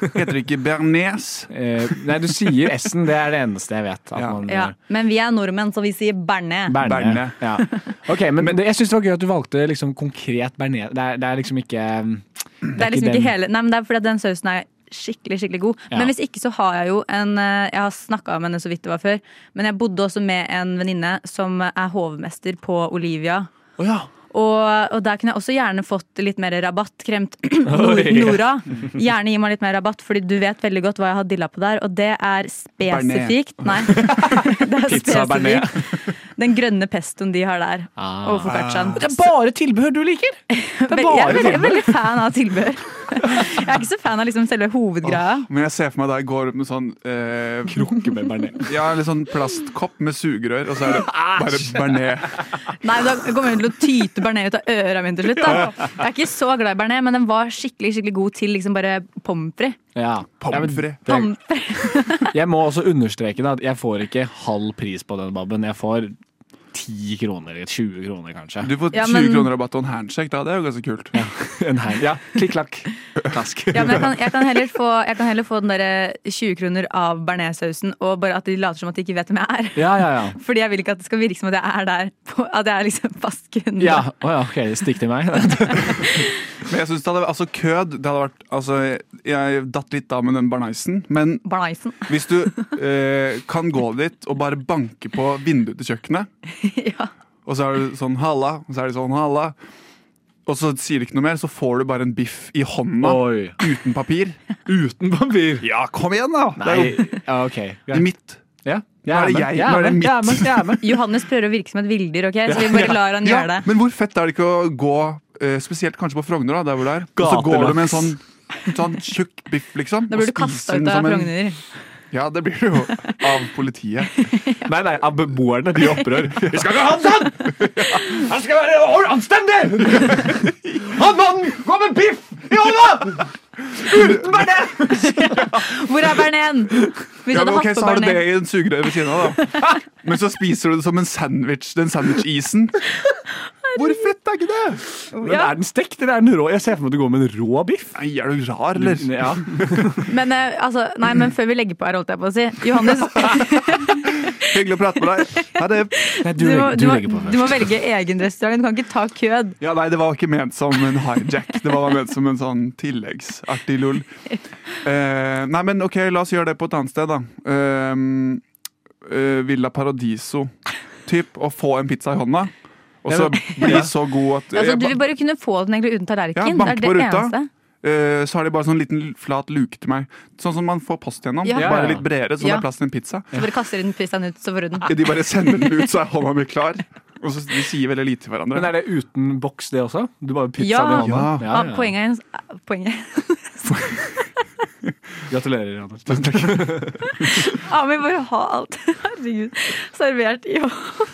Speaker 5: Heter det ikke bearnés?
Speaker 1: Eh, nei, du sier S-en. Det er det eneste jeg vet. At
Speaker 5: Ja.
Speaker 1: man
Speaker 6: Ja,
Speaker 1: gjør.
Speaker 6: men vi er nordmenn, så vi sier bearnés.
Speaker 1: Berne.
Speaker 5: Berne.
Speaker 1: Ja. Ok, men, det, jeg syns det var gøy at du valgte liksom konkret bearnés. Det, er- det er liksom ikke
Speaker 6: Det er liksom ikke
Speaker 1: den.
Speaker 6: hele Nei, men det er fordi at den sausen er skikkelig, skikkelig god.
Speaker 1: Ja.
Speaker 6: Men hvis ikke så har jeg jo en eh, Jeg har snakka om henne så vidt det var før, men jeg bodde også med en venninne som er hovmester på Olivia.
Speaker 1: Å ja.
Speaker 6: Og, og der kunne jeg også gjerne fått litt mer rabatt. Kremt <clears throat>
Speaker 1: Oi.
Speaker 6: Nora. Gjerne gi meg litt mer rabatt, Fordi du vet veldig godt hva jeg har dilla på der, og det er spesifikt. Nei.
Speaker 1: <laughs>
Speaker 6: Det er
Speaker 1: Pizza bearnés.
Speaker 6: spesifikt den grønne pestoen de har der.
Speaker 1: Ah.
Speaker 6: Overfor Fertsan.
Speaker 1: Det er bare tilbehør du liker! <laughs> Det er
Speaker 6: Jeg er
Speaker 1: bare
Speaker 6: veldig,
Speaker 1: tilbehør.
Speaker 6: veldig fan av tilbehør. Jeg er ikke så fan av liksom selve hovedgreia.
Speaker 5: Men jeg ser for meg da jeg går opp med sånn eh,
Speaker 1: Krukke med bearnés.
Speaker 5: Ja, eller sånn plastkopp med sugerør, og så er det bare bearnés.
Speaker 6: Nei, Da kommer hun til å tyte bearnés ut av øra mine til slutt. Da. Jeg er ikke så glad i bearnés, men den var skikkelig skikkelig god til liksom bare pommes frites.
Speaker 1: Ja. Ja, men
Speaker 5: Pommes frites.
Speaker 1: det- <laughs> Jeg må også understreke da, at jeg får ikke halv pris på den babben. Jeg får 10 kroner, eller 20 kroner kanskje.
Speaker 5: Du får
Speaker 6: Ja,
Speaker 5: 20
Speaker 6: men-
Speaker 5: kroner rabatt og en handshake, da. Det er jo ganske kult.
Speaker 1: <laughs> En her. Ja, klikk klakk. Klask.
Speaker 6: Ja, men jeg kan, jeg, kan heller få, jeg kan heller få den der 20 kroner av bearnéssausen, og bare at de later som at de ikke vet hvem jeg er.
Speaker 1: Ja, ja, ja.
Speaker 6: Fordi jeg vil ikke at det skal virke som at jeg er der. På, at jeg er liksom fast kunde.
Speaker 1: Ja, å ja, ok, stikk til meg.
Speaker 5: Men jeg synes det hadde, altså kød det hadde vært, altså, Jeg datt litt av med den barneisen, men
Speaker 6: Bearnésen.
Speaker 5: hvis du eh, kan gå dit og bare banke på vinduet til kjøkkenet,
Speaker 6: <laughs> ja.
Speaker 5: og så er du sånn halla, og så er det sånn halla, og så sier du ikke noe mer, så får du bare en biff i hånda
Speaker 1: <laughs> Oi.
Speaker 5: uten papir.
Speaker 1: Uten papir.
Speaker 5: Ja, kom igjen, da! Det er
Speaker 1: Nei,
Speaker 5: jo
Speaker 1: ja, ok.
Speaker 5: det er
Speaker 1: greit.
Speaker 5: mitt.
Speaker 1: Ja.
Speaker 5: Nå er det jeg, nå er det mitt.
Speaker 1: Jeg er med, jeg er med.
Speaker 6: Johannes prøver å virke som et villdyr, ok? så vi bare lar han
Speaker 5: Ja,
Speaker 6: gjøre det.
Speaker 5: men hvor fett er det ikke å gå, eh, spesielt kanskje på Frogner, da, der hvor det er, og så går
Speaker 1: Gatelangs.
Speaker 5: du med en sånn, sånn tjukk biff, liksom.
Speaker 6: Da
Speaker 5: og
Speaker 6: blir du
Speaker 5: spiser
Speaker 6: kasta
Speaker 5: den
Speaker 6: ut av
Speaker 5: som en-
Speaker 6: Frogner.
Speaker 5: Ja, det blir det jo. Av politiet.
Speaker 6: <laughs>
Speaker 1: Nei, nei, av beboerne. De opprør. Vi skal ikke ha han <laughs> sånn! Han skal være or- <laughs> anstendig! Han mannen går med biff i hånda! Uten bearnés!
Speaker 6: Hvor er bernén? Hvis
Speaker 5: Ja,
Speaker 6: jeg hadde
Speaker 5: men ok,
Speaker 6: hatt
Speaker 5: så
Speaker 6: på
Speaker 5: har du det
Speaker 6: bearnés.
Speaker 5: i en sugerør ved siden av, da. <laughs> Men så spiser du det som en sandwich. Den sandwich-isen. Hvor fett er ikke det?
Speaker 1: Men er den stekt, eller er den rå? Jeg ser for meg at du går med en rå biff.
Speaker 5: Nei, er du rar, eller?
Speaker 1: Ja.
Speaker 6: Men, eh, altså, nei, men før vi legger på her, holdt jeg på å si.
Speaker 5: <laughs>
Speaker 6: Johannes,
Speaker 5: Hyggelig å prate med deg. Ha det.
Speaker 1: Nei,
Speaker 6: du må,
Speaker 1: legger-
Speaker 6: du må,
Speaker 1: legger på
Speaker 6: du må velge egen restaurant. Du kan ikke ta kød.
Speaker 5: Ja, nei, det var ikke ment som en hijack. Det var ment som en sånn tilleggsartig lull. Eh, nei, men ok, la oss gjøre det på et annet sted, da. Eh, eh, Villa Paradiso. Typ å få en pizza i hånda, og så bli så god at
Speaker 6: Altså,
Speaker 5: jeg
Speaker 6: du
Speaker 5: ba-
Speaker 6: vil bare kunne få den egentlig uten tallerken.
Speaker 5: Ja,
Speaker 6: det
Speaker 5: banke
Speaker 6: er
Speaker 5: på
Speaker 6: det
Speaker 5: ruta.
Speaker 6: eneste.
Speaker 5: Eh, så har de bare sånn liten flat luke til meg. Sånn som man får post gjennom.
Speaker 6: Ja.
Speaker 5: Bare litt bredere, sånn
Speaker 6: Ja.
Speaker 5: det er plass til en pizza.
Speaker 6: Så bare kaster du den pizzaen ut, så får du den.
Speaker 5: De bare sender den ut, så er hånda mi klar. Og så De sier veldig lite til hverandre.
Speaker 1: Men er det uten boks, det også? Du bare pizza
Speaker 6: Ja.
Speaker 1: i hånda?
Speaker 5: Ja.
Speaker 6: Ah, Poenget hennes Poenget. <laughs>
Speaker 1: Gratulerer, Anders. <laughs>
Speaker 6: Ami bare ha alt. <laughs> Herregud. Servert i hånd.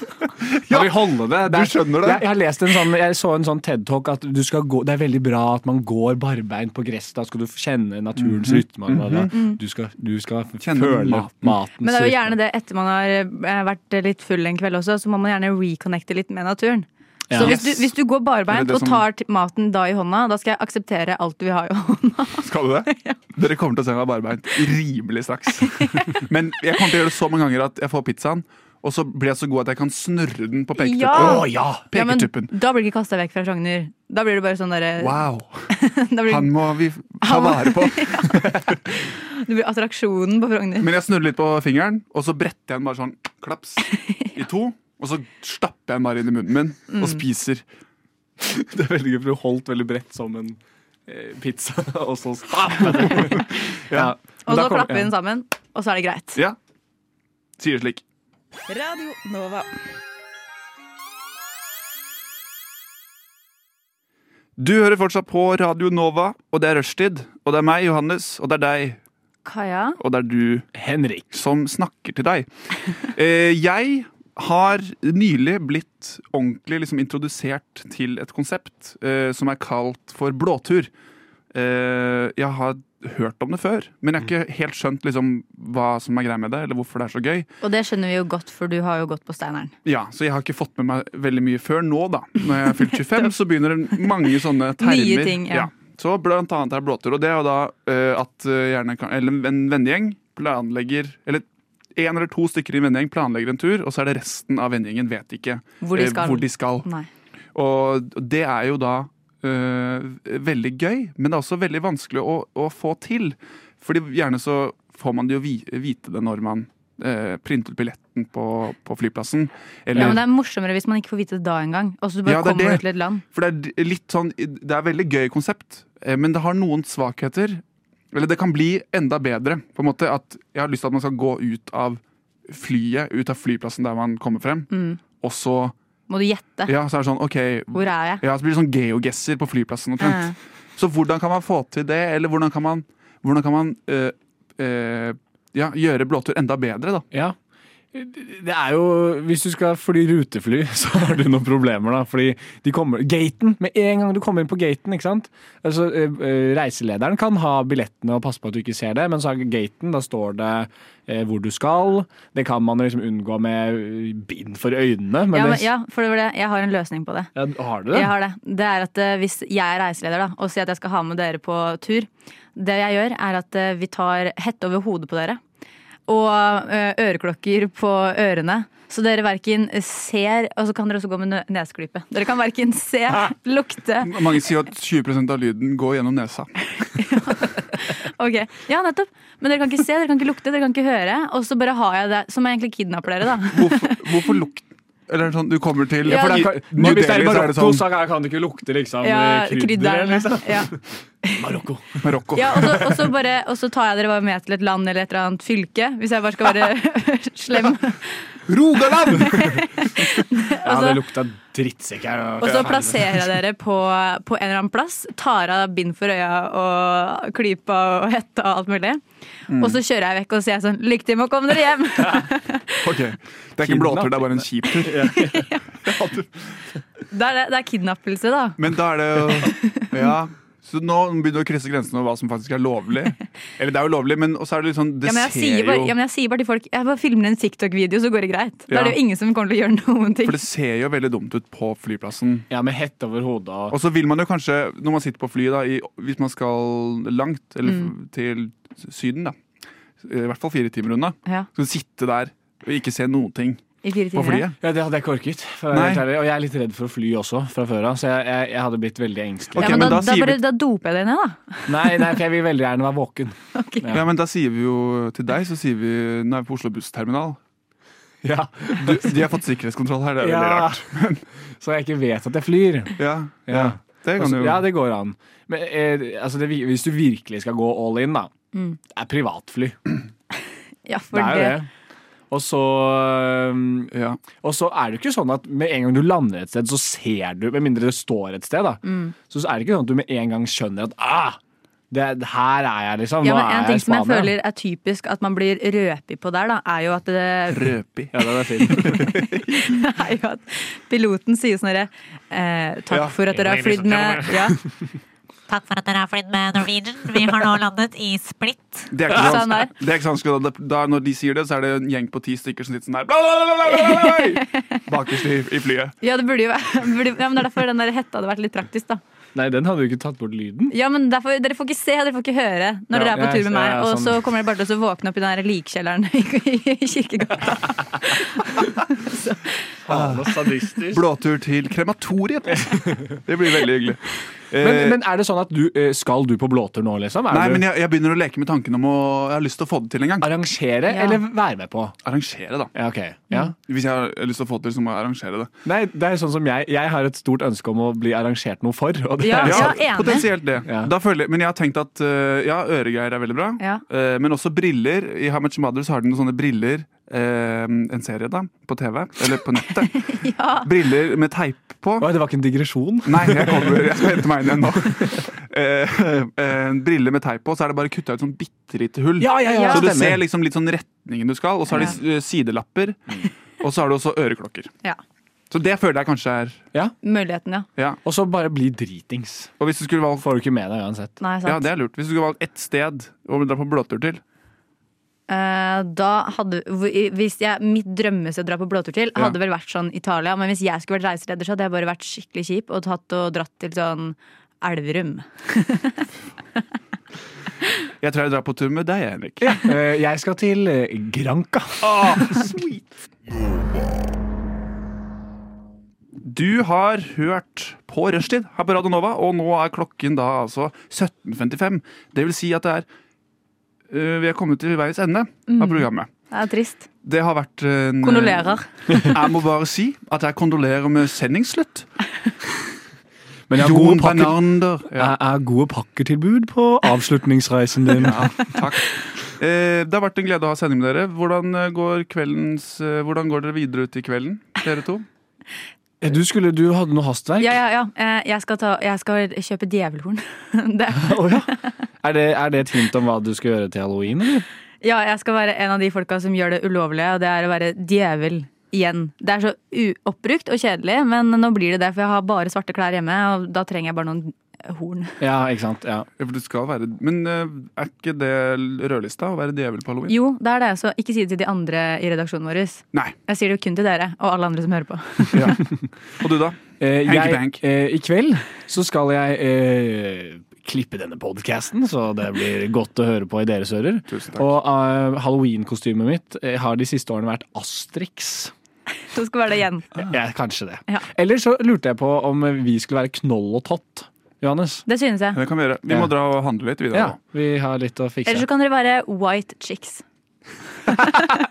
Speaker 1: Ja, vi holder det. det er-
Speaker 5: Du skjønner det.
Speaker 1: Jeg, jeg, har lest en sånn, jeg så en sånn TED-talk at du skal gå, det er veldig bra at man går barbeint på gress. Da skal du kjenne naturens rytme. og da- Du skal, du skal
Speaker 5: Kjenne
Speaker 1: føle
Speaker 5: maten.
Speaker 1: matens
Speaker 6: Mhm. Men det er jo gjerne
Speaker 1: rytme.
Speaker 6: det etter man har eh, vært litt full en kveld også, så må man gjerne reconnecte litt med naturen. Så hvis du,
Speaker 5: Yes.
Speaker 6: hvis du går barbeint
Speaker 5: Det er det
Speaker 6: og
Speaker 5: som-
Speaker 6: tar t- maten da i hånda, da skal jeg akseptere alt du vil ha i hånda.
Speaker 5: Skal du
Speaker 6: <laughs>
Speaker 5: det? Dere kommer til å se meg barbeint rimelig straks. Men jeg kommer til å gjøre det så mange ganger at jeg får pizzaen, og så blir jeg så god at jeg kan snurre den på peketuppen. Å,
Speaker 6: Ja.
Speaker 5: ja.
Speaker 6: Ja, men
Speaker 5: Peketuppen.
Speaker 6: da blir du ikke kasta vekk fra Frogner. Da blir du bare sånn derre
Speaker 5: Wow.
Speaker 6: <laughs> da blir-
Speaker 5: Han må vi ta
Speaker 6: Han må- <laughs>
Speaker 5: vare på.
Speaker 6: Du blir attraksjonen på Frogner.
Speaker 5: Men jeg snurrer litt på fingeren, og så bretter jeg den bare sånn
Speaker 6: <laughs>
Speaker 5: klaps i to. Og så stapper jeg den bare inn i munnen min
Speaker 6: Mm.
Speaker 5: og spiser.
Speaker 1: <laughs> Det er veldig gøy, for du holdt veldig bredt som en eh, pizza, og så stappet det. <laughs> ja. Men
Speaker 6: Og
Speaker 1: da
Speaker 6: så
Speaker 1: kommer-
Speaker 6: klapper vi den sammen, og så er det greit.
Speaker 5: Ja. Sier det slik.
Speaker 9: Radio Nova.
Speaker 5: Du hører fortsatt på Radio Nova, og det er rushtid. Og det er meg, Johannes, og det er deg,
Speaker 6: Kaja,
Speaker 5: og det er du.
Speaker 1: Ja. Henrik.
Speaker 5: som snakker til deg. Eh, jeg har nylig blitt ordentlig liksom, introdusert til et konsept eh, som er kalt for blåtur. Eh, jeg har hørt om det før, men jeg har ikke helt skjønt liksom, hva som er greia med det, eller hvorfor det er så gøy.
Speaker 6: og det skjønner vi jo godt, for du har jo gått på Steineren.
Speaker 5: Ja, Så jeg har ikke fått med meg veldig mye før nå, da. Når jeg har fylt
Speaker 6: <laughs>
Speaker 5: 25, så begynner det mange sånne termer.
Speaker 6: Nye ting, ja.
Speaker 5: Så blant annet er blåtur, og det er jo da eh, at eh, gjerne kan, eller en vennegjeng planlegger Eller én eller to stykker i en vennegjeng planlegger en tur, og så er det resten av vennegjengen vet ikke
Speaker 6: Hvor de
Speaker 5: eh,
Speaker 6: skal. Mm.
Speaker 5: hvor de skal.
Speaker 6: Nei.
Speaker 5: Og det er jo da eh, veldig gøy, men det er også veldig vanskelig å, å få til. Fordi gjerne så får man det jo vi- vite det når man eh, printer ut billetten på, på flyplassen. Eller,
Speaker 6: Ja, men det er morsommere hvis man ikke får vite det da engang. Og så bare
Speaker 5: Ja, det er
Speaker 6: kommer
Speaker 5: det.
Speaker 6: du til et land.
Speaker 5: For det er litt sånn Det er veldig gøy konsept, eh, men det har noen svakheter. Eller det kan bli enda bedre. På en måte at Jeg har lyst til at man skal gå ut av flyet, ut av flyplassen der man kommer frem, og så
Speaker 6: Må du gjette.
Speaker 5: Ja, så er det sånn OK
Speaker 6: Hvor er jeg?
Speaker 5: ja, så blir det sånn geogesser på flyplassen omtrent. Så hvordan kan man få til det, eller hvordan kan man, hvordan kan man eh, eh, ja, gjøre blåtur enda bedre, da?
Speaker 1: Ja. Det er jo, Hvis du skal fly rutefly, <laughs> så har du noen problemer. da, fordi de kommer, Gaten! Med en gang du kommer inn på gaten ikke sant? Altså, eh, eh, Reiselederen kan ha billettene og passe på at du ikke ser det, men så er gaten, da står det eh, hvor du skal. Det kan man liksom unngå med eh, bind for øynene. Men
Speaker 6: Ja, men,
Speaker 1: det,
Speaker 6: ja, for det var det. Jeg har en løsning på det.
Speaker 1: Ja, har du det?
Speaker 6: Jeg har det. det er at eh, Hvis jeg er reiseleder da, og sier at jeg skal ha med dere på tur, det jeg gjør er at eh, vi tar hette over hodet på dere og eh, øreklokker på ørene. Så dere verken ser Og så kan dere også gå med nø- neseklype. Dere kan verken se, <laughs> lukte
Speaker 5: Mange sier at 20 av lyden går gjennom nesa.
Speaker 6: Ok, Ja, nettopp. Men dere kan ikke se, dere kan ikke lukte, dere kan ikke høre. Og så bare har jeg det som jeg egentlig kidnapper dere, da.
Speaker 5: Hvorfor, hvorfor lukt Eller sånn, du kommer til
Speaker 6: Ja,
Speaker 1: For det
Speaker 5: i
Speaker 1: er, ka-
Speaker 5: New
Speaker 1: hvis det er i
Speaker 5: Delhi, så er det
Speaker 1: Marokko,
Speaker 5: sånn
Speaker 1: så kan det ikke lukte liksom
Speaker 6: Ja,
Speaker 1: eh, krydder.
Speaker 6: krydderne.
Speaker 1: Liksom.
Speaker 6: Ja.
Speaker 1: Marokko.
Speaker 5: Marokko.
Speaker 6: Ja, og, så, og, så
Speaker 1: <laughs>
Speaker 6: bare, og så tar jeg dere bare med til et land eller et eller annet fylke, hvis jeg bare skal være slem. <laughs>
Speaker 1: Rogaland! ja, det lukta drittsekk her.
Speaker 6: Altså- Og så plasserer jeg dere på, på en eller annen plass. Tar av bind for øya og klypa og hetta og alt mulig.
Speaker 5: Mm.
Speaker 6: Og så kjører jeg vekk og sier sånn Lykke til med å komme dere hjem!
Speaker 5: Ok, Det er ikke en blåtur, det er bare en kjip tur.
Speaker 6: Det er, det er kidnappelse, da.
Speaker 5: Men da er det
Speaker 6: <laughs>
Speaker 5: jo Ja. Så nå begynner du å krysse grensen over hva som faktisk er lovlig. Eller det er jo lovlig, men også er det litt sånn Det
Speaker 6: Ja, men, jeg
Speaker 5: ser
Speaker 6: sier bare,
Speaker 5: jo
Speaker 6: ja, men jeg sier bare til folk Jeg bare filmer en TikTok-video, så går det greit. Da er det
Speaker 5: Ja.
Speaker 6: jo ingen som kommer til å gjøre noen ting.
Speaker 5: For det ser jo veldig dumt ut på flyplassen.
Speaker 1: Ja, med hette over hodet og
Speaker 5: Og så vil man jo kanskje, når man sitter på fly, da, i, hvis man skal langt, eller
Speaker 6: Mm.
Speaker 5: til Syden, da I hvert fall fire timer unna.
Speaker 6: Ja,
Speaker 5: Så sitte der og ikke se noen ting
Speaker 6: I fire
Speaker 5: på
Speaker 6: timer. ja.
Speaker 5: flyet.
Speaker 1: Ja, Det hadde jeg ikke orket. For å
Speaker 5: Nei.
Speaker 1: være helt ærlig. Og jeg er litt redd for å fly også, fra før av. Så jeg, jeg, jeg hadde blitt veldig engstelig.
Speaker 5: Ok,
Speaker 6: ja, men,
Speaker 5: men
Speaker 6: da,
Speaker 5: da
Speaker 6: da,
Speaker 5: sier
Speaker 6: bare,
Speaker 5: vi-
Speaker 6: da doper jeg deg ned, da.
Speaker 1: Nei, nei, for jeg vil veldig gjerne være våken.
Speaker 5: Ja. men da sier vi jo til deg, så sier vi Nå er vi på Oslo bussterminal.
Speaker 1: Ja,
Speaker 5: Du, de har fått sikkerhetskontroll her, det er veldig
Speaker 1: Ja.
Speaker 5: rart.
Speaker 1: <laughs> Så jeg ikke vet at jeg flyr.
Speaker 5: Ja, ja.
Speaker 1: Ja.
Speaker 5: Det kan
Speaker 1: Altså,
Speaker 5: jo
Speaker 1: ja, det går an. Men eh, altså, det, vi- hvis du virkelig skal gå all in, da,
Speaker 6: Mm.
Speaker 1: det er privatfly.
Speaker 6: Ja, for
Speaker 1: Det er jo
Speaker 6: det.
Speaker 1: det. Og så, øhm,
Speaker 5: ja.
Speaker 1: og så er det jo ikke sånn at med en gang du lander et sted, så ser du Med mindre det står et sted, da. Så, så er det ikke sånn at du med en gang skjønner at ah, det, her er jeg, liksom.
Speaker 6: Ja,
Speaker 1: Nå
Speaker 6: men En
Speaker 1: er jeg
Speaker 6: ting
Speaker 1: i
Speaker 6: som jeg
Speaker 1: Spania.
Speaker 6: føler er typisk at man blir røpig på der, da, er jo at, det,
Speaker 5: Røpi.
Speaker 1: Ja, den er fin.
Speaker 6: <laughs> er jo at piloten sier sånn herre eh, Takk
Speaker 5: Ja.
Speaker 6: for at dere har flydd med ja.
Speaker 11: Takk for at dere har flydd med Norwegian. Vi har nå landet i Split.
Speaker 5: Det er ikke
Speaker 6: Sånn
Speaker 5: sånn,
Speaker 6: der.
Speaker 5: det er ikke sånn skal, da, da, Når de sier det, så er det en gjeng på ti stykker som sitter sånn her bla, bla, bla, bla, bla, bla, bla, bakerst i, i flyet.
Speaker 6: ja, det burde jo være <laughs> burde, ja, men det er Derfor den der hetta hadde vært litt praktisk, da.
Speaker 1: <laughs> Nei, den hadde jo ikke tatt bort lyden.
Speaker 6: Ja, men derfor, Dere får ikke se, dere får ikke høre når dere
Speaker 1: Ja,
Speaker 6: er på
Speaker 1: ja,
Speaker 6: tur med meg.
Speaker 1: ja,
Speaker 6: Og
Speaker 1: sånn.
Speaker 6: så kommer dere bare til å våkne opp i den der likkjelleren <laughs> i i kirkegata.
Speaker 5: Blåtur til krematoriet. Det blir veldig hyggelig.
Speaker 1: Men,
Speaker 5: Eh,
Speaker 1: men er det sånn at du eh, skal du på blåtur nå, liksom? Er
Speaker 5: nei,
Speaker 1: du
Speaker 5: men jeg, jeg begynner å leke med tanken om å Jeg har lyst til å få det til en gang.
Speaker 1: arrangere
Speaker 6: Ja.
Speaker 1: eller være med på?
Speaker 5: Arrangere, da.
Speaker 1: Ja, ok. Ja.
Speaker 5: Hvis jeg har lyst til å få det til, så må jeg arrangere det.
Speaker 1: Mm. Nei, det er sånn som jeg Jeg har et stort ønske om å bli arrangert noe for. Og det
Speaker 6: Ja,
Speaker 1: er, sånn,
Speaker 5: Ja,
Speaker 6: ja. enig.
Speaker 5: potensielt det.
Speaker 1: Ja.
Speaker 5: Da føler jeg, men jeg har tenkt at eh, ja, øregreier er veldig bra.
Speaker 6: Ja.
Speaker 5: Eh, men også briller. I How Much Mothers har de noen sånne briller. eh, en serie, da. På TV. Eller på nettet. Briller med teip på.
Speaker 1: Oi, det var ikke en digresjon.
Speaker 5: Nei, jeg, kommer, jeg skal hente meg inn igjen nå. Eh, eh, briller med teip på, så er det bare kutta ut sånn bitte lite hull.
Speaker 1: Ja, ja, ja,
Speaker 5: så du
Speaker 1: stemmer.
Speaker 5: ser liksom litt sånn retningen du skal, og så har de eh, sidelapper.
Speaker 1: Mm.
Speaker 5: Og så har du også øreklokker.
Speaker 6: Ja.
Speaker 5: Så det føler jeg kanskje er
Speaker 6: Muligheten, ja.
Speaker 5: Ja.
Speaker 1: Og så bare bli dritings.
Speaker 5: Og hvis du skulle valgt
Speaker 1: Får du ikke med deg uansett.
Speaker 6: Nei,
Speaker 5: ja,
Speaker 6: sant.
Speaker 5: det er lurt. Hvis du skulle valgt ett sted å dra på blåtur til
Speaker 6: Eh, da hadde, hvor- hvis jeg, Mitt drømmested å dra på blåtur til hadde vel vært sånn Italia. Men hvis jeg skulle vært reiseleder, så hadde jeg bare vært skikkelig kjip og, tatt og dratt til sånn Elverum.
Speaker 5: Jeg tror jeg drar på tur med deg,
Speaker 1: <laughs>
Speaker 5: Henrik.
Speaker 1: Eh, jeg skal til eh, Granca. <laughs>
Speaker 5: Du har hørt på Rushtid her på Radio Nova, og nå er klokken da altså 17.55. Det vil si at det er øh, Vi er kommet til veis ende av programmet.
Speaker 6: Det er trist.
Speaker 5: Det har vært en eh,
Speaker 6: Kondolerer.
Speaker 5: <laughs> Jeg må bare si at jeg kondolerer med sendingsslutt.
Speaker 1: Men jeg har
Speaker 5: Jon
Speaker 1: gode pakker,
Speaker 5: Bernander. Ja,
Speaker 1: jeg har gode pakketilbud på avslutningsreisen <laughs> din.
Speaker 5: takk. Eh, Det har vært en glede å ha sending med dere. Hvordan eh, går, kveldens, eh, hvordan går dere videre ut i kvelden, dere to?
Speaker 1: Eh, Du, skulle, du hadde noe hastverk?
Speaker 6: Ja, ja, ja. Eh, jeg, skal ta, jeg skal kjøpe djevelhorn. <laughs> det,
Speaker 1: <laughs> Å, ja. Er, det, er det et hint om hva du skal gjøre til halloween? Eller?
Speaker 6: ja, jeg skal være en av de folka som gjør det ulovlige, og det er å være djevel igjen. Det er så uoppbrukt og kjedelig, men nå blir det det, for jeg har bare svarte klær hjemme, og da trenger jeg bare noen horn.
Speaker 1: Ja, ikke sant? Ja.
Speaker 5: <laughs> Ja, for det skal være, men eh, er ikke det rødlista å være djevel på halloween?
Speaker 6: Jo, det er det, så ikke si det til de andre i redaksjonen vår.
Speaker 5: Nei.
Speaker 6: Jeg sier det jo kun til dere og alle andre som hører på. <laughs>
Speaker 5: <laughs> Ja. Og du, da?
Speaker 1: Eh,
Speaker 5: Hanky
Speaker 1: jeg,
Speaker 5: pank.
Speaker 1: eh, I kveld så skal jeg eh, klippe denne podcasten, så det blir godt å høre på i deres ører.
Speaker 5: Tusen takk.
Speaker 1: Og eh, halloween-kostymet mitt eh, har de siste årene vært Astrix.
Speaker 6: Så skal være det igjen.
Speaker 5: Ah.
Speaker 1: Ja, kanskje det.
Speaker 6: Ja.
Speaker 1: Eller så lurte jeg på om vi skulle være knoll og tott, Johannes.
Speaker 6: Det synes jeg.
Speaker 5: Det kan vi gjøre. Vi
Speaker 1: Ja.
Speaker 5: må dra og handle litt videre.
Speaker 1: Ja, vi har litt å
Speaker 6: Eller
Speaker 1: fikse.
Speaker 6: så kan dere være white chicks.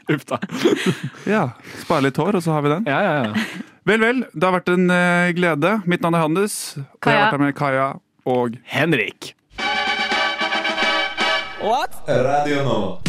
Speaker 1: Uff da.
Speaker 5: nå. Ja. Spare litt hår, og så har vi den.
Speaker 1: Ja, ja,
Speaker 5: <laughs>
Speaker 1: ja.
Speaker 5: Vel, vel. Det har vært en eh, glede. Mitt navn er Hannes. Og jeg har
Speaker 6: Kaja.
Speaker 5: vært her med Kaja og
Speaker 1: Henrik.
Speaker 3: Radio Nova.